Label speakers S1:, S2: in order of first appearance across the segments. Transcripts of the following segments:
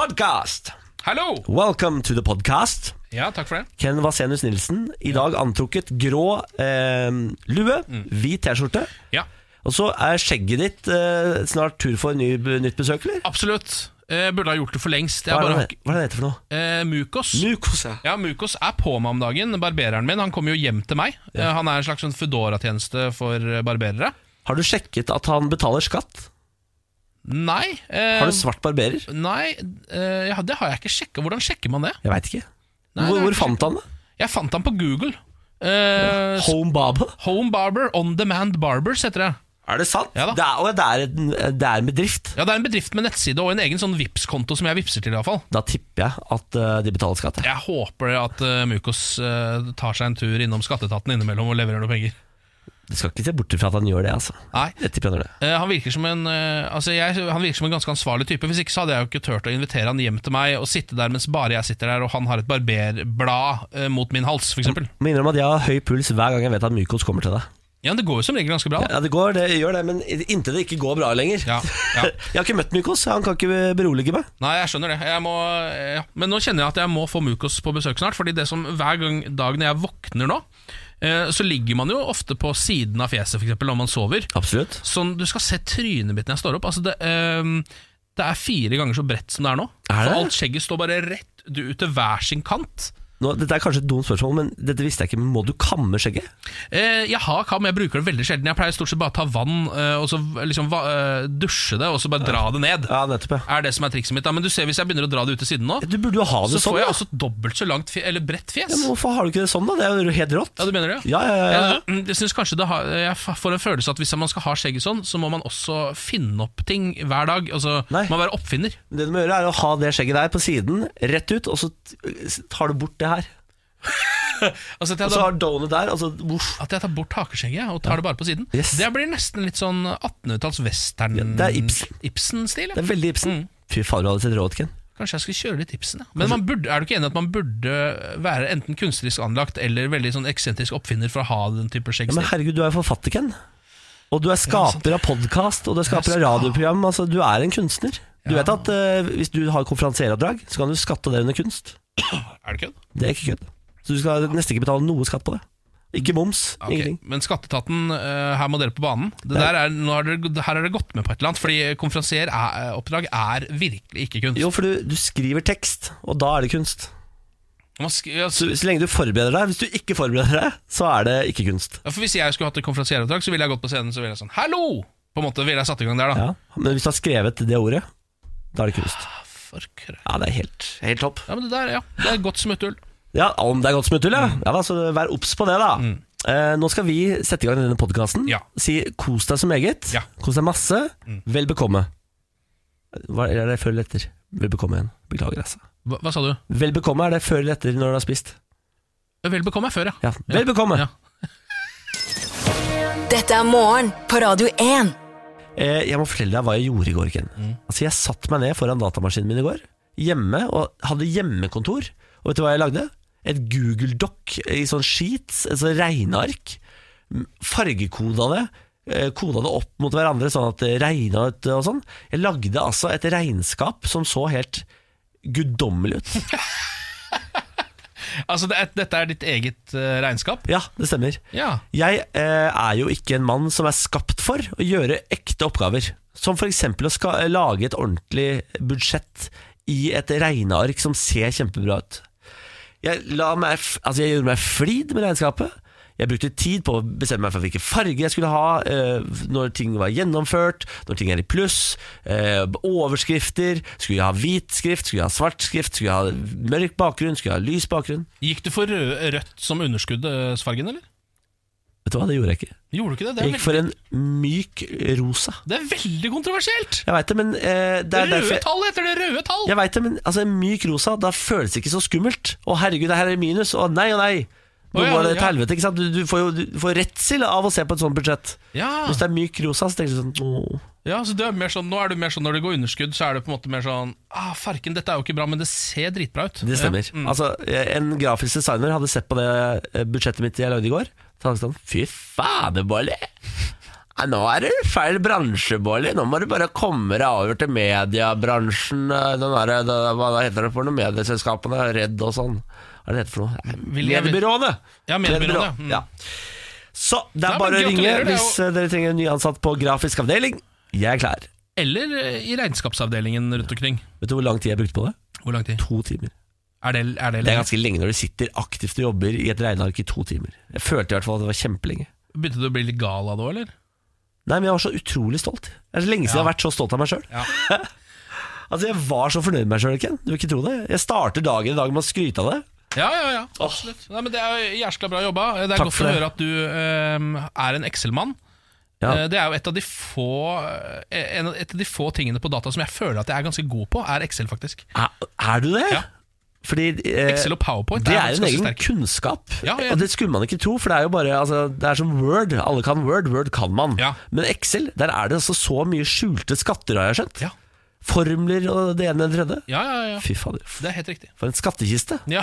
S1: Podcast!
S2: Hallo!
S1: Welcome to the podcast.
S2: Ja, takk for det.
S1: Ken Vasenius Nilsen, i dag antrukket grå eh, lue,
S2: Mm.
S1: hvit T-skjorte.
S2: Ja,
S1: Og så er skjegget ditt eh, snart tur for ny, nytt besøk, eller?
S2: absolutt. Eh, burde ha gjort det for lengst. Jeg
S1: Hva er,
S2: bare
S1: det,
S2: har ikke-
S1: hva er det det heter for noe?
S2: eh, Mukos.
S1: Mukos, ja.
S2: Ja, Mukos er på meg om dagen. Barbereren min han kommer jo hjem til meg. Eh, han er en slags sånn Foodora-tjeneste for eh, barberere.
S1: Har du sjekket at han betaler skatt?
S2: Nei, eh,
S1: Har du svart barberer?
S2: nei eh, ja, det har jeg ikke sjekka. Hvordan sjekker man det?
S1: Jeg veit ikke. hvor
S2: Nei, det har jeg
S1: hvor
S2: ikke
S1: fant han det?
S2: Jeg fant han på Google. Eh,
S1: Home Baba?
S2: Home Barber, On Demand Barbers heter det.
S1: Er det sant?
S2: Ja da.
S1: det, er, og det, er en, det er en bedrift.
S2: Ja, Det er en bedrift med nettside og en egen sånn Vipps-konto som jeg vippser til. i hvert fall
S1: Da tipper jeg at eh, de betaler skatt. ja.
S2: Jeg håper at eh, Mukos eh, tar seg en tur innom skatteetaten innimellom og leverer noen penger.
S1: Du skal ikke se bort fra at han gjør det, altså.
S2: Nei,
S1: Jeg tipper han gjør det.
S2: Eh, Han virker, som en, eh, altså jeg, han virker som en ganske ansvarlig type. Hvis ikke så hadde jeg jo ikke turt å invitere han hjem til meg og sitte der mens bare jeg sitter der og han har et barberblad eh, mot min hals, f.eks.
S1: Må innrømme at jeg har høy puls hver gang jeg vet at Mykos kommer til deg.
S2: Ja, det går jo som regel ganske bra. Da.
S1: Ja, det går, det gjør det, men inntil det ikke går bra lenger.
S2: Ja, ja.
S1: Jeg har ikke møtt Mykos, han kan ikke berolige meg.
S2: Nei, jeg skjønner det. Jeg må, eh, ja. Men nå kjenner jeg at jeg må få Mukos på besøk snart. Fordi det som hver gang dag når jeg våkner nå, eh, så ligger man jo ofte på siden av fjeset, f.eks. når man sover.
S1: Absolutt.
S2: Sånn, Du skal se trynet mitt når jeg står opp. Altså, det, ehm, det er fire ganger så bredt som det er nå.
S1: Er det?
S2: For alt skjegget står bare rett ut til hver sin kant.
S1: Nå, dette er kanskje et dumt spørsmål, men dette visste jeg ikke. Men må du kamme skjegget?
S2: Eh, jeg har kam, jeg bruker det veldig sjelden. Jeg pleier stort sett bare å ta vann eh, og så liksom va eh, dusje det, og så bare dra det ned.
S1: Ja, nettopp, ja.
S2: Er det som er trikset mitt. Da. Men du ser hvis jeg begynner å dra det ut til siden nå,
S1: Du burde jo ha det
S2: så
S1: sånn.
S2: får jeg
S1: da.
S2: også dobbelt så langt fje eller bredt fjes.
S1: Ja, men hvorfor har du ikke det sånn, da? Det er jo helt rått.
S2: Ja, du mener det?
S1: Ja, ja, ja, ja.
S2: Jeg, jeg synes kanskje det har, jeg får en følelse at hvis man skal ha skjegget sånn, så må man også finne opp ting hver dag. Altså,
S1: Nei.
S2: man må være oppfinner.
S1: Det du må gjøre er å ha det skjegget der på siden, rett ut, og så t- tar du bort det her.
S2: Altså,
S1: Og
S2: at, jeg
S1: så
S2: da,
S1: har donet der, altså, og så voff.
S2: at jeg tar bort hakeskjegget og tar det bare på siden.
S1: Yes.
S2: Det blir nesten litt sånn 1800-talls western
S1: Ja, det er Ibsen.
S2: Ibsen-stil. ja.
S1: Det er veldig Ibsen. Fy fader, du hadde sett råd, Ken.
S2: Kanskje jeg skulle kjøre litt Ibsen. Ja. Men man burde, er du ikke enig i at man burde være enten kunstnerisk anlagt eller veldig sånn eksentrisk oppfinner for å ha den
S1: Ja,
S2: type
S1: men
S2: skjeggstil?
S1: herregud, du er jo forfatter, Ken. Og du er skaper av podkast, og du er skaper av radioprogram. Altså, du er en kunstner. Du vet at eh, hvis du har konferansieroppdrag, så kan du skatte det under kunst.
S2: er det kødd?
S1: Det er ikke kødd. Så du skal nesten ikke betale noe skatt på det. Ikke moms,
S2: Ok,
S1: ingenting.
S2: Men Skatteetaten, eh, her må dere på banen. Det der er, nå har dere, her har dere gått med på et eller annet. Fordi konferansieroppdrag er virkelig ikke kunst.
S1: Jo, for du, du skriver tekst, og da er det kunst.
S2: Man sk- ja, s-
S1: Så, så lenge du forbereder deg. Hvis du ikke forbereder deg, så er det ikke kunst.
S2: ja, for Hvis jeg skulle hatt et konferansieroppdrag, så ville jeg gått på scenen Så ville jeg sånn Hallo! På en måte ville jeg satt i gang der, da.
S1: Ja. Men hvis du har skrevet det ordet, da er det kunst.
S2: For krø-
S1: Ja, det er helt, helt topp.
S2: ja, men det der, ja. Det er godt smutthull.
S1: Ja, Om det er godt smutthull,
S2: Mm.
S1: ja. ja da, så vær obs på det, da. Eh, nå skal vi sette i gang denne podkasten.
S2: Ja.
S1: Si 'kos deg så meget',
S2: Ja. Mm.
S1: 'kos deg masse', 'vel bekomme'. Hva er det før eller etter? Vel bekomme igjen. Beklager, altså.
S2: Hva, hva sa du?
S1: Vel bekomme er det før eller etter når du har spist.
S2: Vel bekomme er før, ja.
S1: Ja, Vel bekomme.
S2: Ja.
S3: Dette er morgen på Radio 1.
S1: Eh, jeg må fortelle deg hva jeg gjorde i går, Ken. Altså, jeg satte meg ned foran datamaskinen min i går, hjemme, og hadde hjemmekontor. Og vet du hva jeg lagde? Et Google Doc i sånn sheets, et sånn regneark. M- Fargekoda det. eh, Koda det opp mot hverandre sånn at det regna ut eh, og sånn. Jeg lagde altså et regnskap som så helt guddommelig ut.
S2: Altså, det er, dette er ditt eget eh, regnskap?
S1: Ja, det stemmer.
S2: Ja.
S1: Jeg eh, er jo ikke en mann som er skapt for å gjøre ekte oppgaver. Som f.eks. å ska lage et ordentlig budsjett i et regneark som ser kjempebra ut. Jeg, la meg f altså, jeg gjorde meg flid med regnskapet. Jeg brukte tid på å bestemme meg for hvilke farger jeg skulle ha, eh, når ting var gjennomført, når ting er i pluss, eh, overskrifter. Skulle jeg ha hvit skrift, skulle jeg ha svart skrift, skulle jeg ha mørk bakgrunn, skulle jeg ha lys bakgrunn?
S2: Gikk du for rød, rødt som underskuddsfargen, eller?
S1: Vet du hva, det gjorde jeg ikke.
S2: Gjorde du ikke det? Det
S1: Jeg
S2: er,
S1: gikk
S2: veldig,
S1: for en myk rosa.
S2: det er veldig kontroversielt!
S1: Jeg veit det, men eh, det er
S2: røde
S1: derfor jeg,
S2: tall heter det, røde tall!
S1: jeg vet det, men altså, en myk rosa, da føles det ikke så skummelt. Å herregud, det her er minus. Å nei, å nei. Nå
S2: Å, ja,
S1: går det til
S2: ja.
S1: helvete. ikke sant? Du, du får jo du får redsel av å se på et sånt budsjett.
S2: Ja,
S1: Hvis det er myk rosa, så tenker du sånn åh.
S2: ja så det er mer sånn, Nå er det mer sånn når det går underskudd, så er det på en måte mer sånn ah, Farken, dette er jo ikke bra, men det ser dritbra ut.
S1: Det stemmer.
S2: Ja. Mm.
S1: Altså, En grafisk designer hadde sett på det eh, budsjettet mitt jeg lagde i går. Så hadde han sagt fy faderbolle! Nei, nå er du feil bransje, Bolli. Nå må du bare komme deg over til mediebransjen. eh, Den der, det, hva heter det for noe? Medieselskapene? Redd og sånn. Hva er det det heter for noe? Nei,
S2: Vil jeg-
S1: Mediebyråene!
S2: Ja, mediebyråene, ja. Mm.
S1: Ja. Så det
S2: Nei,
S1: er bare å
S2: men
S1: ringe
S2: gratulerer, det er
S1: hvis eh, dere trenger en ny ansatt på grafisk avdeling. Jeg er klar.
S2: Eller eh, i regnskapsavdelingen rundt omkring.
S1: Vet du hvor lang tid jeg brukte på det?
S2: Hvor lang tid?
S1: To timer.
S2: Er det, er
S1: Det er
S2: det lenge?
S1: ganske lenge når du sitter aktivt og jobber i et regneark i to timer. Jeg følte i hvert fall at det var kjempelenge.
S2: Begynte du å bli litt gal av det òg, eller?
S1: Nei, men jeg var så utrolig stolt. Det er så lenge siden jeg har vært så stolt av meg sjøl.
S2: Ja.
S1: altså, jeg var så fornøyd med meg sjøl, Ken. Du vil ikke tro det. Jeg starter dagen i dag med å skryte av det.
S2: Ja, ja, ja. Absolutt. Nei, men det er jæskla bra jobba. Det er
S1: Takk
S2: godt
S1: for
S2: å
S1: det.
S2: høre at du eh, er en Excel-mann.
S1: Ja.
S2: Eh, Det er jo et av, de få, eh, en av- et av de få tingene på data som jeg føler at jeg er ganske god på, er Excel, faktisk.
S1: Er, er du det?
S2: Ja.
S1: Fordi eh,
S2: Excel og PowerPoint
S1: det
S2: faktisk
S1: er en
S2: ganske
S1: egen
S2: sterke.
S1: kunnskap,
S2: Ja, ja.
S1: og det skulle man ikke tro. For det er jo bare altså, Det er som Word. Alle kan Word, Word kan man.
S2: Ja.
S1: Men Excel, der er det altså så mye skjulte skatter, har jeg skjønt.
S2: Ja.
S1: Formler og det ene med det tredje.
S2: Ja, ja, ja.
S1: Fy fader.
S2: Det er helt riktig.
S1: For en skattkiste.
S2: Ja.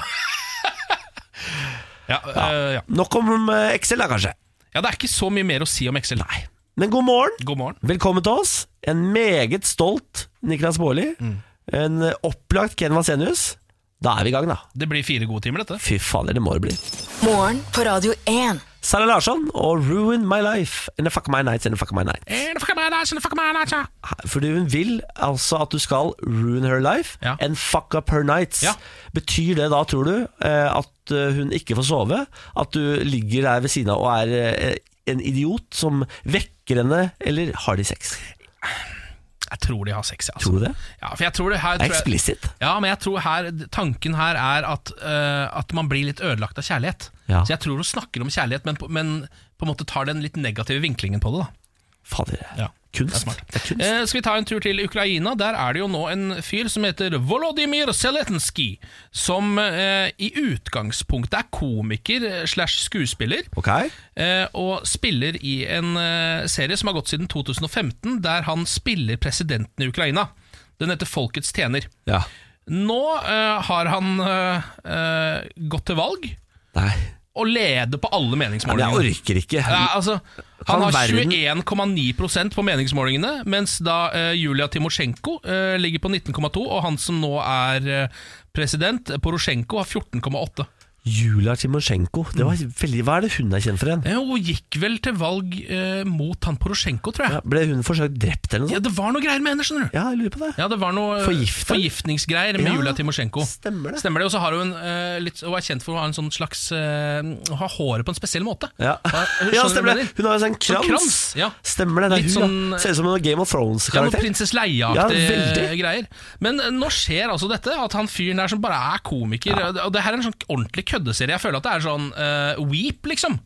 S2: ja, eh, ja.
S1: Nok om eh, Excel, da, kanskje.
S2: ja, det er ikke så mye mer å si om Excel. Nei.
S1: Men god morgen.
S2: God morgen.
S1: Velkommen til oss. En meget stolt Niklas Baarli.
S2: Mm.
S1: En eh, opplagt Ken Vasenius. Da er vi i gang, da.
S2: Det blir fire gode timer, dette.
S1: Fy fader, det må det bli.
S3: Morgen på Radio 1.
S1: Sara Larsson og 'Ruin My Life'. And the fuck my nights, and the fuck my night.
S2: Eh,
S1: Fordi hun vil altså at du skal ruin her life
S2: Ja.
S1: and fuck up her nights.
S2: Ja.
S1: Betyr det da, tror du, eh, at eh, hun ikke får sove? At du ligger der ved siden av og er eh, en idiot som vekker henne, eller har de sex?
S2: Jeg tror de har sex, ja. Altså.
S1: Tror du det?
S2: ja for jeg tror det her
S1: Det
S2: tror
S1: er
S2: jeg-
S1: eksplisitt.
S2: Ja, men jeg tror her, tanken her er at, eh, at man blir litt ødelagt av kjærlighet.
S1: Ja.
S2: Så jeg tror hun snakker om kjærlighet, men, på- men på en måte tar den litt negative vinklingen på det. da
S1: Fader.
S2: Ja,
S1: kunst.
S2: det er smart.
S1: Det er kunst.
S2: Eh, skal vi ta en tur til Ukraina? Der er det jo nå en fyr som heter Volodymyr Zelenskyj, som eh, i utgangspunktet er komiker eh, slash skuespiller.
S1: Ok.
S2: eh, og spiller i en eh, serie som har gått siden 2015, der han spiller presidenten i Ukraina. Den heter Folkets tjener.
S1: Ja.
S2: Nå eh, har han eh, eh, gått til valg
S1: Nei.
S2: og leder på alle
S1: Men jeg
S2: meningsmålingene.
S1: orker ikke.
S2: Ja, altså,
S1: Han
S2: han har
S1: verden-
S2: 21,9 på meningsmålingene, mens da eh, Julia Timosjenko eh, ligger på 19,2, og han som nå er eh, president, Porosjenko, har 14,8.
S1: Julia Timosjenko. Det var
S2: Mm.
S1: veldig, hva er det hun er kjent for igjen?
S2: Eh, Hun gikk vel til valg eh, mot han Porosjenko, tror jeg.
S1: Ja, ble hun forsøkt drept eller noe
S2: Ja,
S1: sånt?
S2: det var noe greier med henne, skjønner du.
S1: Ja, jeg lurer på det.
S2: Ja, det var noe eh,
S1: Forgiftet?
S2: forgiftningsgreier med
S1: Ja,
S2: Julia Timosjenko.
S1: stemmer det.
S2: Stemmer det, Og så har hun eh, litt, hun er kjent for å ha en sånn slags eh, Å ha håret på en spesiell måte.
S1: Ja,
S2: skjønner
S1: ja
S2: du
S1: stemmer det.
S2: hva jeg mener?
S1: Hun har jo sånn krans.
S2: krans, ja.
S1: Stemmer det. det er
S2: Litt
S1: hun,
S2: sånn,
S1: ja.
S2: eh,
S1: Ser ut som en Game of
S2: Ja, noe
S1: Thrones-karakter.
S2: Prinsesse Leia-aktige
S1: Ja, veldig.
S2: eh, greier. Men eh, nå skjer altså dette, at han fyren der som bare er komiker og det- Og det her er en sånn ordentlig køddeserie. Jeg føler at det er sånn eh, Weep, liksom.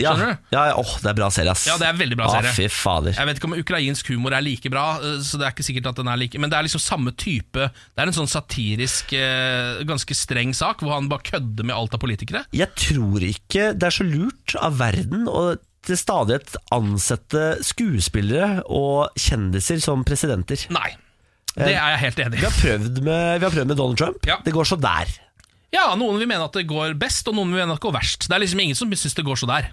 S1: Ja,
S2: skjønner du?
S1: ja, ja, åh, det er bra serie, ass.
S2: Ja, det er veldig bra serie.
S1: Ah, fy fader.
S2: Jeg vet ikke om ukrainsk humor er like bra, eh, Så det er ikke sikkert at den er like men det er liksom samme type. Det er en sånn satirisk, eh, ganske streng sak, hvor han bare kødder med alt av politikere.
S1: Jeg tror ikke det er så lurt av verden å til stadighet ansette skuespillere og kjendiser som presidenter.
S2: Nei.
S1: Eh,
S2: Det er jeg helt enig
S1: Vi
S2: i.
S1: har prøvd med, vi har prøvd med Donald Trump.
S2: Ja.
S1: Det går så der.
S2: Ja, Noen vil mene at det går best, og noen vil mene at det går verst. Det er liksom ingen som syns det går så der.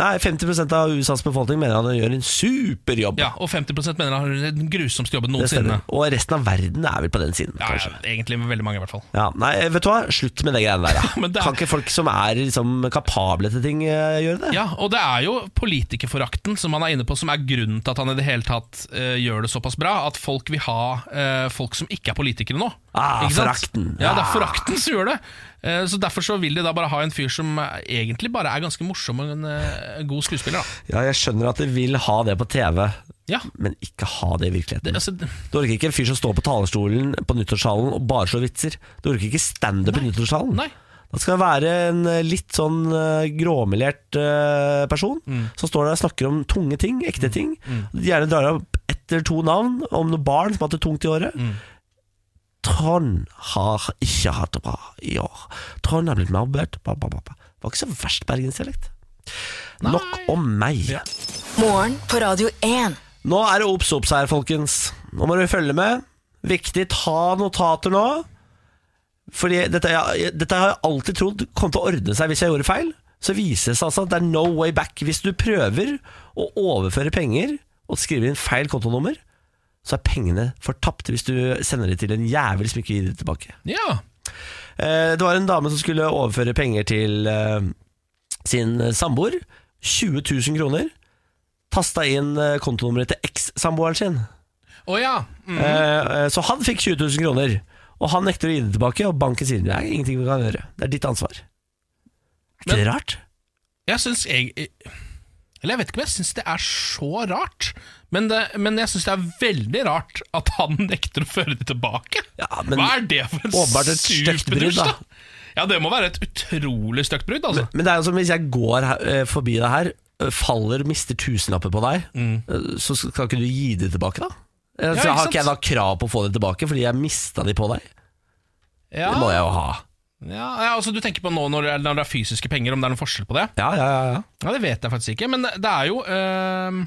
S1: Nei, 50 av USAs befolkning mener han gjør en super jobb.
S2: Ja, Og 50 mener han har den grusomste jobben
S1: Det stemmer.
S2: noensinne.
S1: Og resten av verden er vel på den siden,
S2: Ja,
S1: kanskje.
S2: ja, egentlig med veldig mange, i hvert fall.
S1: Ja, nei, vet du hva? Slutt med de greiene der. Da.
S2: Men det er-
S1: Kan ikke folk som er liksom, kapable til ting, eh, gjøre det?
S2: Ja, Og det er jo politikerforakten som han er inne på, som er grunnen til at han i det hele tatt eh, gjør det såpass bra. At folk vil ha eh, folk som ikke er politikere nå.
S1: Ah,
S2: Ikke sant?
S1: forakten.
S2: Ja, det er
S1: Ah.
S2: forakten som gjør det. Eh, så Derfor så vil de da bare ha en fyr som eh, egentlig bare er ganske morsom og en eh, god skuespiller. da
S1: Ja, jeg skjønner at de vil ha det på TV,
S2: Ja,
S1: men ikke ha det i
S2: det,
S1: virkeligheten.
S2: altså, det-
S1: Du orker ikke en fyr som står på talerstolen på nyttårstalen og bare slår vitser. Du orker ikke standup i nyttårstalen.
S2: Nei.
S1: Da skal det være en eh, litt sånn eh, gråmelert eh, person
S2: Mm.
S1: som står der og snakker om tunge ting, ekte ting. Gjerne drar opp ett eller to navn om noen barn som har hatt det tungt i året.
S2: Mm.
S1: Trond har ikke hatt det bra i år. Trond har blitt mobbet. Ba, ba, ba, ba. Det var ikke så verst bergensdialekt. Nok om meg.
S2: Ja.
S3: Morgen på Radio 1.
S1: Nå er det obs obs her, folkens. Nå må dere følge med. Viktig, ta notater nå. Fordi dette, ja, dette har jeg alltid trodd kom til å ordne seg hvis jeg gjorde feil. så viser det seg altså at det er no way back. Hvis du prøver å overføre penger og skriver inn feil kontonummer, så er pengene fortapt hvis du sender det til en jævel som ikke gir det tilbake.
S2: Ja.
S1: Eh, Det var en dame som skulle overføre penger til eh, sin samboer. 20 000 kroner. Tasta inn eh, kontonummeret til eks-samboeren sin.
S2: Å ja. Mm.
S1: Eh, eh, Så han fikk 20 000 kroner. Og han nekter å gi det tilbake, og banken sier det er ingenting vi kan gjøre. Det er ditt ansvar. Er ikke
S2: Men-
S1: det rart?
S2: Jeg syns jeg eh, Eller jeg vet ikke om jeg syns det er så rart, men, det, men jeg syns det er veldig rart at han nekter å føre det tilbake.
S1: Ja, men-
S2: Hva er det for en
S1: Åpenbart et stygt brudd,
S2: superdusj,
S1: da.
S2: da? Ja, det må være et utrolig stygt brudd, altså.
S1: Men det er jo som hvis jeg går her, eh, forbi deg her, eh, faller, mister tusenlapper på deg, eh, så skal ikke du gi det tilbake, da? Eh,
S2: Mm. Ja,
S1: Så
S2: ikke
S1: har ikke jeg da
S2: sant?
S1: krav på å få det tilbake, fordi jeg mista de på deg.
S2: Ja,
S1: Det må
S2: ja,
S1: jeg jo ha.
S2: ja, altså Du tenker på nå når det, er, når det er fysiske penger, om det er noen forskjell på det?
S1: Ja, ja, ja, ja.
S2: Ja, Det vet jeg faktisk ikke, men det er jo eh,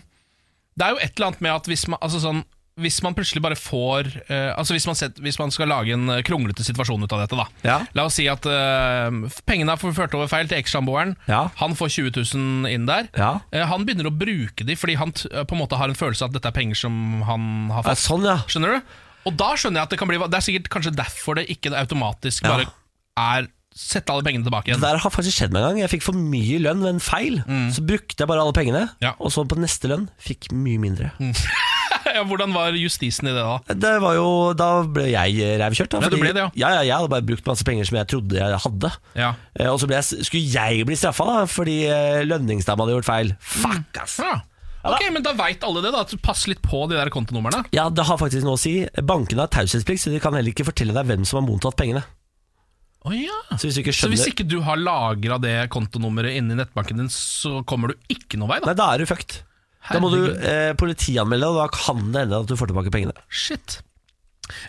S2: Det er jo et eller annet med at hvis man, altså sånn, hvis man plutselig bare får eh, Altså hvis man, set, hvis man skal lage en eh, kronglete situasjon ut av dette, da.
S1: Ja.
S2: La oss si at eh, pengene er forført over feil til ekssamboeren.
S1: Ja.
S2: Han får 20 000 inn der.
S1: Ja.
S2: Eh, han begynner å bruke de fordi han t eh, på en måte har en følelse av at dette er penger som han har
S1: Ja,
S2: fått.
S1: sånn, ja.
S2: Skjønner du? Og da skjønner jeg at det kan bli Det er sikkert kanskje derfor det ikke automatisk
S1: Ja.
S2: bare er Sette alle pengene tilbake
S1: Det
S2: igjen.
S1: der har faktisk skjedd meg en gang. Jeg fikk for mye lønn ved en feil. Så brukte jeg bare alle pengene,
S2: Mm. Ja. Mm.
S1: og så på neste lønn fikk mye mindre.
S2: ja, hvordan var justisen i det da?
S1: Det var jo, Da ble jeg revkjørt. da,
S2: Ja, du
S1: fordi-
S2: ble det, ja.
S1: Ja, ja, Jeg hadde bare brukt masse penger som jeg trodde jeg hadde.
S2: Ja.
S1: Eh, Og så ble jeg, skulle jeg bli straffa da, fordi eh, lønningsdama hadde gjort feil.
S2: Mm.
S1: Fuck, ass!
S2: ja. Ok, men da veit alle det, da. at Pass litt på de der kontonumrene.
S1: Ja, det har faktisk noe å si. Bankene har taushetsplikt, så de kan heller ikke fortelle deg hvem som har mottatt pengene.
S2: Å ja.
S1: Så hvis du ikke
S2: Så
S1: skjønner
S2: hvis ikke du har lagra det kontonummeret inni nettbanken din, så kommer du ikke noen vei, da?
S1: Nei, da er du fucked. Da må du eh, politianmelde, og da kan det hende at du får tilbake pengene.
S2: Shit.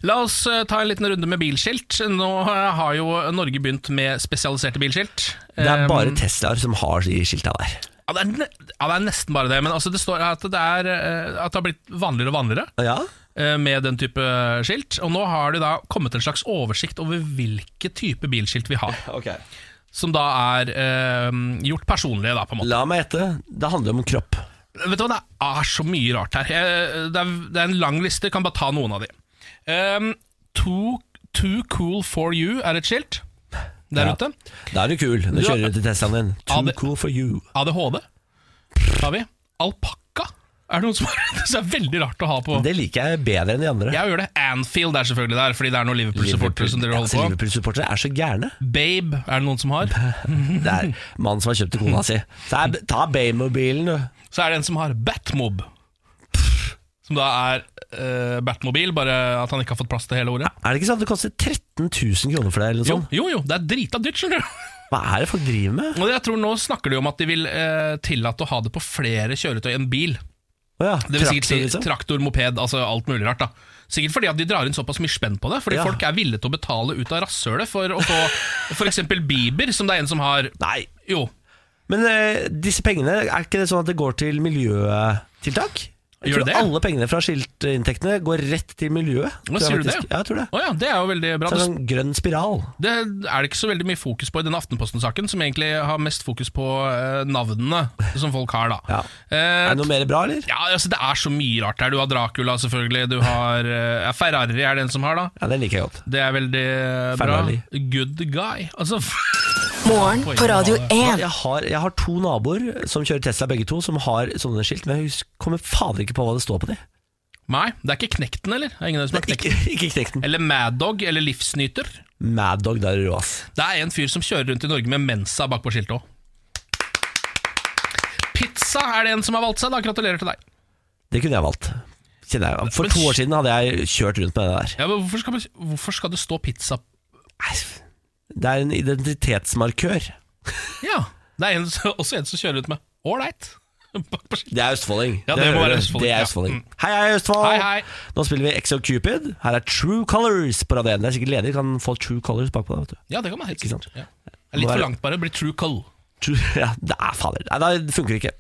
S2: La oss eh, ta en liten runde med bilskilt. Nå eh, har jo Norge begynt med spesialiserte bilskilt.
S1: Det er
S2: Eh,
S1: bare Teslaer som har de skilta der.
S2: ja, det er, ne ja, det er nesten bare det, men altså, det står at det, er, eh, at det har blitt vanligere og vanligere
S1: Ja,
S2: eh, med den type skilt. Og nå har det da kommet en slags oversikt over hvilke type bilskilt vi har,
S1: ok
S2: som da er eh, gjort personlige, da, på en måte.
S1: La meg gjette. Det handler om kropp.
S2: Vet du hva, det er så mye rart her. Jeg- Det er, det er en lang liste, jeg kan bare ta noen av de. Ehm, too, too cool for you er et skilt der
S1: Ja.
S2: ute.
S1: Da er du kul. Da
S2: Du-
S1: kjører du til Teslaen din. Too
S2: Ja, det-
S1: cool for you.
S2: ADHD har vi. Alpakka er det noen som har. Det er veldig rart å ha på.
S1: Det liker jeg bedre enn de andre.
S2: Jeg gjør det. Anfield er selvfølgelig der, fordi det er noen Liverpool-supportere som dere
S1: Altså,
S2: holder på.
S1: Liverpool-supportere er så gærne.
S2: Babe er det noen som har.
S1: Det er mannen som har kjøpt til kona si. Så er, ta Baymobilen, du.
S2: Så er det en som har Batmob. Som da er eh, Batmobil, bare at han ikke har fått plass til hele ordet.
S1: Er det ikke sånn at det koster 13 000 kroner for deg? Eller noe
S2: Jo,
S1: sånt?
S2: jo, jo, det er drita dyrt, skjønner du.
S1: Hva er det folk driver med?
S2: Og jeg tror Nå snakker de om at de vil eh, tillate å ha det på flere kjøretøy enn bil.
S1: Å ja,
S2: Det vil si
S1: traktor,
S2: traktor,
S1: liksom.
S2: traktor, moped, altså alt mulig rart. da Sikkert fordi at de drar inn såpass mye spenn på det. Fordi
S1: Ja.
S2: folk er villige til å betale ut av rasshølet for å få f.eks. Bieber, som det er en som har
S1: Nei.
S2: Jo.
S1: Men eh, disse pengene, er ikke det sånn at det går til miljøtiltak? Jeg
S2: Gjør
S1: tror
S2: det det?
S1: alle pengene fra skiltinntektene går rett til miljøet. tror jeg
S2: sier du det?
S1: faktisk. Ja, jeg tror det.
S2: Å ja, det er jo veldig bra.
S1: Så det er
S2: Det,
S1: en sånn grønn spiral.
S2: det er det ikke så veldig mye fokus på i den Aftenposten-saken, som egentlig har mest fokus på eh, navnene som folk har, da.
S1: Ja.
S2: Eh,
S1: Er det noe mer bra, eller?
S2: ja, altså Det er så mye rart her. Du har Dracula, selvfølgelig. Du har eh, Ferrari er det en som har, da.
S1: Ja, Den liker jeg godt.
S2: Det er veldig eh, bra.
S1: Ferrari.
S2: Good guy. Altså,
S3: Morgen på Radio 1.
S1: Jeg har, jeg har to naboer som kjører Tesla, begge to, som har sånne skilt. Men jeg hus- kommer fader ikke på hva det står på de.
S2: nei, det er ikke Knekten, eller? Det er ingen av dere som har
S1: Ikke,
S2: knekten.
S1: ikke knekt den.
S2: Eller Mad Dog, eller Livsnyter.
S1: Mad Dog, der er du, ass.
S2: Det er en fyr som kjører rundt i Norge med Mensa bakpå skiltet òg. Pizza er det en som har valgt seg, da. Gratulerer til deg.
S1: Det kunne jeg valgt. Kjenner jeg. For
S2: Men-
S1: to år siden hadde jeg kjørt rundt med det der.
S2: Ja, men hvorfor, skal man, hvorfor skal det stå pizza
S1: Nei, Det er en identitetsmarkør.
S2: Ja, det er en, også en som kjører rundt med ålreit bak på skiltet.
S1: Det er østfolding.
S2: Ja, det må
S1: hører
S2: være
S1: du.
S2: østfolding,
S1: Det er
S2: ja.
S1: østfolding.
S2: Mm.
S1: Hei, hei, Østfold!
S2: Hei, hei.
S1: Nå spiller vi Exo Cupid. Her er True Colors på radioen. Det er sikkert ledig, kan få True Colors bakpå deg. vet du.
S2: Ja, det kan man helt
S1: Ikke sant?
S2: sikkert. Ja. Det er litt
S1: Må være-
S2: for langt, bare. Blir true call.
S1: True, ja, det er fader. Nei, det funker ikke.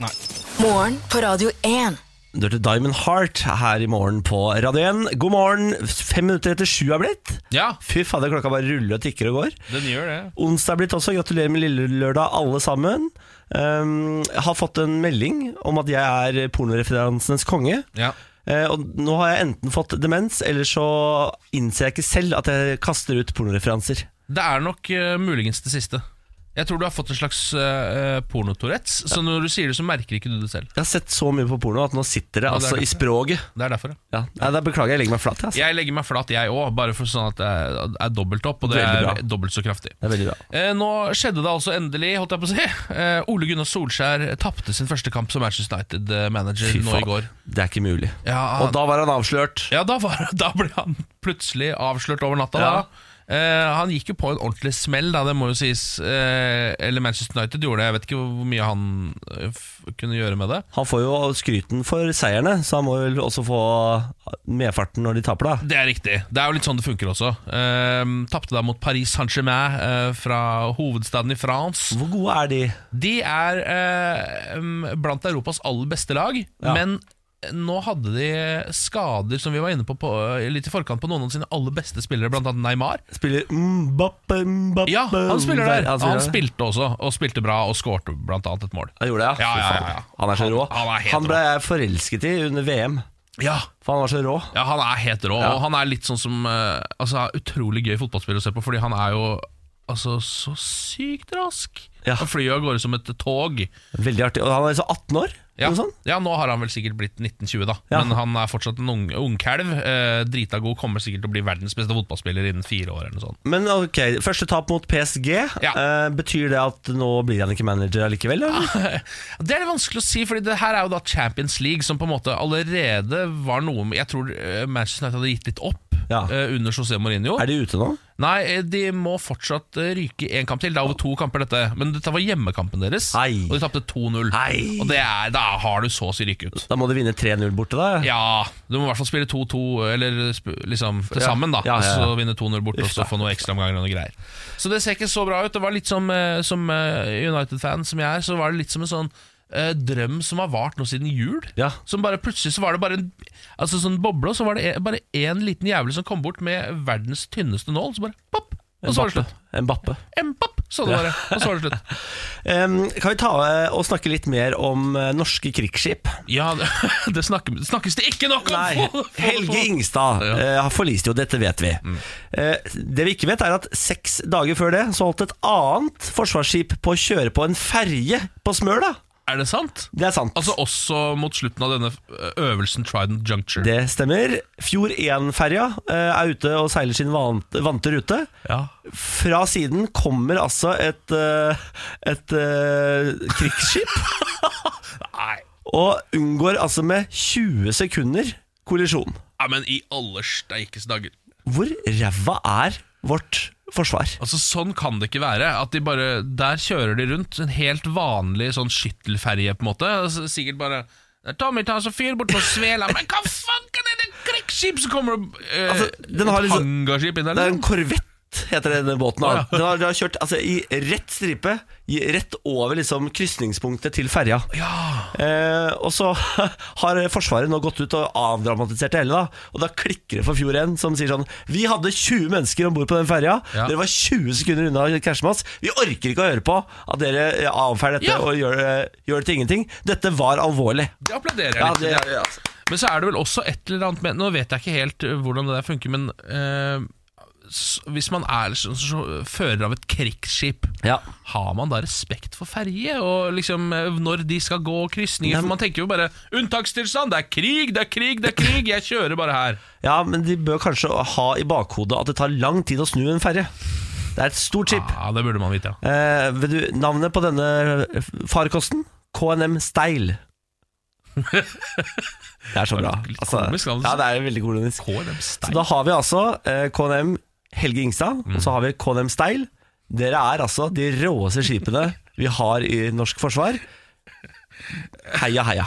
S3: Morgen på Radio 1.
S1: Du hørte Diamond Heart her i morgen på Radio 1. God morgen. Fem minutter etter sju er blitt.
S2: Ja,
S1: Fy fader, klokka bare ruller og tikker og går.
S2: den gjør det.
S1: Onsdag er blitt også. Gratulerer med lille lørdag, alle sammen. ehm, har fått en melding om at jeg er pornoreferansenes konge.
S2: Ja.
S1: Eh, og nå har jeg enten fått demens, eller så innser jeg ikke selv at jeg kaster ut pornoreferanser.
S2: Det er nok eh, muligens det siste. Jeg tror du har fått en slags uh, porno-Tourettes, så når du sier det, så merker ikke du det selv.
S1: Jeg har sett så mye på porno at nå sitter det
S2: Ja, det er
S1: altså
S2: det.
S1: i språket.
S2: Det er derfor. ja.
S1: Ja. Nei, da beklager jeg, jeg legger meg flat. jeg, Altså.
S2: Jeg legger meg flat, jeg òg, bare for sånn at det er, er dobbelt opp, og det
S1: Veldig
S2: er
S1: bra.
S2: dobbelt så kraftig.
S1: Det er veldig bra.
S2: Eh, nå skjedde det altså endelig, holdt jeg på å si. Eh, Ole Gunnar Solskjær tapte sin første kamp som Manchester United-manager nå i går.
S1: det er ikke mulig.
S2: Ja,
S1: Og da var han avslørt.
S2: Ja, da, var, da ble han plutselig avslørt over natta.
S1: Ja.
S2: Da. Eh, han gikk jo på en ordentlig smell, da, det må jo sies. Eh, eller Manchester United gjorde det. Jeg vet ikke hvor mye han eh, f kunne gjøre med det.
S1: Han får jo skryten for seierne, så han må vel også få medfarten når de taper, da.
S2: Det er riktig. Det er jo litt sånn det funker også. Eh, Tapte da mot Paris Saint-Germain eh, fra hovedstaden i France.
S1: Hvor gode er de?
S2: De er eh, um, blant Europas aller beste lag,
S1: Ja.
S2: men nå hadde de skader, som vi var inne på, på eh, litt i forkant, på noen av sine aller beste spillere, blant annet Neymar.
S1: Spiller Mbappe, Mbappe
S2: Ja, han spiller der.
S1: Han,
S2: Han,
S1: spiller der.
S2: spilte også, og spilte bra, og skårte blant annet et mål.
S1: Han gjorde det, ja?
S2: Ja,
S1: Fy
S2: ja,
S1: faen.
S2: ja, ja.
S1: Han er så
S2: Han-
S1: rå.
S2: han er helt
S1: ble jeg forelsket i under VM,
S2: Ja,
S1: for han var så rå.
S2: ja han er helt rå, og han er litt sånn som eh, Altså, utrolig gøy fotballspiller å se på, fordi han er jo Altså, så sykt rask.
S1: Ja.
S2: Han flyr jo av gårde som et tog.
S1: Veldig artig. Og han er liksom 18 år?
S2: Ja.
S1: Noe sånt?
S2: ja, nå har han vel sikkert blitt 1920, da.
S1: Ja.
S2: Men han er fortsatt en ung- ungkalv. Eh, drita god, kommer sikkert til å bli verdens beste fotballspiller innen fire år eller noe sånt.
S1: Men ok, første tap mot PSG.
S2: Ja. Ah.
S1: Eh, betyr det at nå blir han ikke manager allikevel? Eller?
S2: Det er litt vanskelig å si, Fordi det her er jo da Champions League, som på en måte allerede var noe Jeg tror eh, Manchester United hadde gitt litt opp
S1: Ja.
S2: eh, under José Mourinho.
S1: Er de ute nå?
S2: Nei, eh, de må fortsatt eh, ryke én kamp til. Det er over to kamper, dette. Men dette var hjemmekampen deres,
S1: Hei.
S2: og de tapte 2-0.
S1: Hei.
S2: Og det er, da har du så å si ryke ut.
S1: Da må de vinne 3-0 borte, da.
S2: Ja, du må i hvert fall spille 2-2, eller sp- liksom til
S1: Ja.
S2: sammen, da.
S1: Ja, ja, ja.
S2: Og så vinne 2-0 bort, og
S1: Uff da.
S2: så få noen ekstraomganger og noe greier. Så det ser ikke så bra ut. Det var litt som, eh, som eh, United-fan som jeg er, så var det litt som en sånn eh, drøm som har vart nå siden jul.
S1: Ja.
S2: Som bare Plutselig så var det bare en Altså sånn boble, og så var det e- bare én liten jævel som kom bort med verdens tynneste nål, så bare pop! Og så var det
S1: Mbappe.
S2: slutt.
S1: Mbappe.
S2: Empap, så det bare. Og så var det slutt.
S1: Em, kan vi ta eh, og snakke litt mer om eh, norske krigsskip?
S2: Ja, det, det snakker, snakkes det ikke nok om!
S1: Nei, Helge Ingstad
S2: Ja. Mm.
S1: eh, har forlist jo, dette vet vi. Eh, det vi ikke vet, er at seks dager før det så holdt et annet forsvarsskip på å kjøre på en ferje på Smøla.
S2: Er det sant?
S1: Det er sant.
S2: Altså også mot slutten av denne eh, øvelsen Trident Juncture.
S1: det stemmer. Fjord 1-ferja eh, er ute og seiler sin vante, vante rute.
S2: Ja.
S1: Fra siden kommer altså et, eh, et eh, krigsskip.
S2: Nei.
S1: Og unngår altså med 20 sekunder kollisjon.
S2: Nei, men i alle steikes dager.
S1: Hvor ræva er vårt forsvar?
S2: Altså Sånn kan det ikke være. At de bare, Der kjører de rundt en helt vanlig sånn skyttelferje, på en måte. Altså, sikkert bare Tommy, ta så fyr bort på svela Men hva fanken er det krigsskip som kommer og eh,
S1: Altså, den har
S2: et
S1: liksom-
S2: Hangarskip inn der?
S1: Det er en
S2: liksom?
S1: korvett, heter denne båten.
S2: Å, ja.
S1: da. Den har, den har kjørt altså, i rett stripe, i, rett over liksom, krysningspunktet til ferja.
S2: Ja.
S1: Eh, og så har Forsvaret nå gått ut og avdramatisert det hele. Da. Og da klikker det for Fjord 1, som sier sånn Vi hadde 20 mennesker om bord på den ferja.
S2: Ja.
S1: Dere var 20 sekunder unna å krasje med oss. Vi orker ikke å høre på at dere eh, avfeier dette
S2: Ja.
S1: og gjør, eh, gjør det til ingenting. Dette var alvorlig.
S2: Det applauderer jeg
S1: Ja,
S2: litt.
S1: det gjør vi, altså.
S2: Men så er det vel også et eller annet med Nå vet jeg ikke helt øh, hvordan det der funker, men øh, s- hvis man er liksom så, så, så, fører av et krigsskip,
S1: Ja.
S2: har man da respekt for ferje? Og liksom øh, når de skal gå og krysninger? For man tenker jo bare 'unntakstilstand', det er krig, det er krig, det er krig, jeg kjører bare her.
S1: ja, men de bør kanskje ha i bakhodet at det tar lang tid å snu en ferje. Det er et stort skip.
S2: Ja, Det burde man vite, ja.
S1: Eh, vet du, navnet på denne eh, farkosten? KNM Steil. Det er så bra.
S2: Litt komisk navn, altså.
S1: ja, det er veldig kolonisk.
S2: KLM
S1: Så
S2: Stein.
S1: da har vi altså eh, KNM Helge Ingstad, og
S2: Mm.
S1: så har vi KNM Steil. Dere er altså de råeste skipene vi har i norsk forsvar. Heia, heia.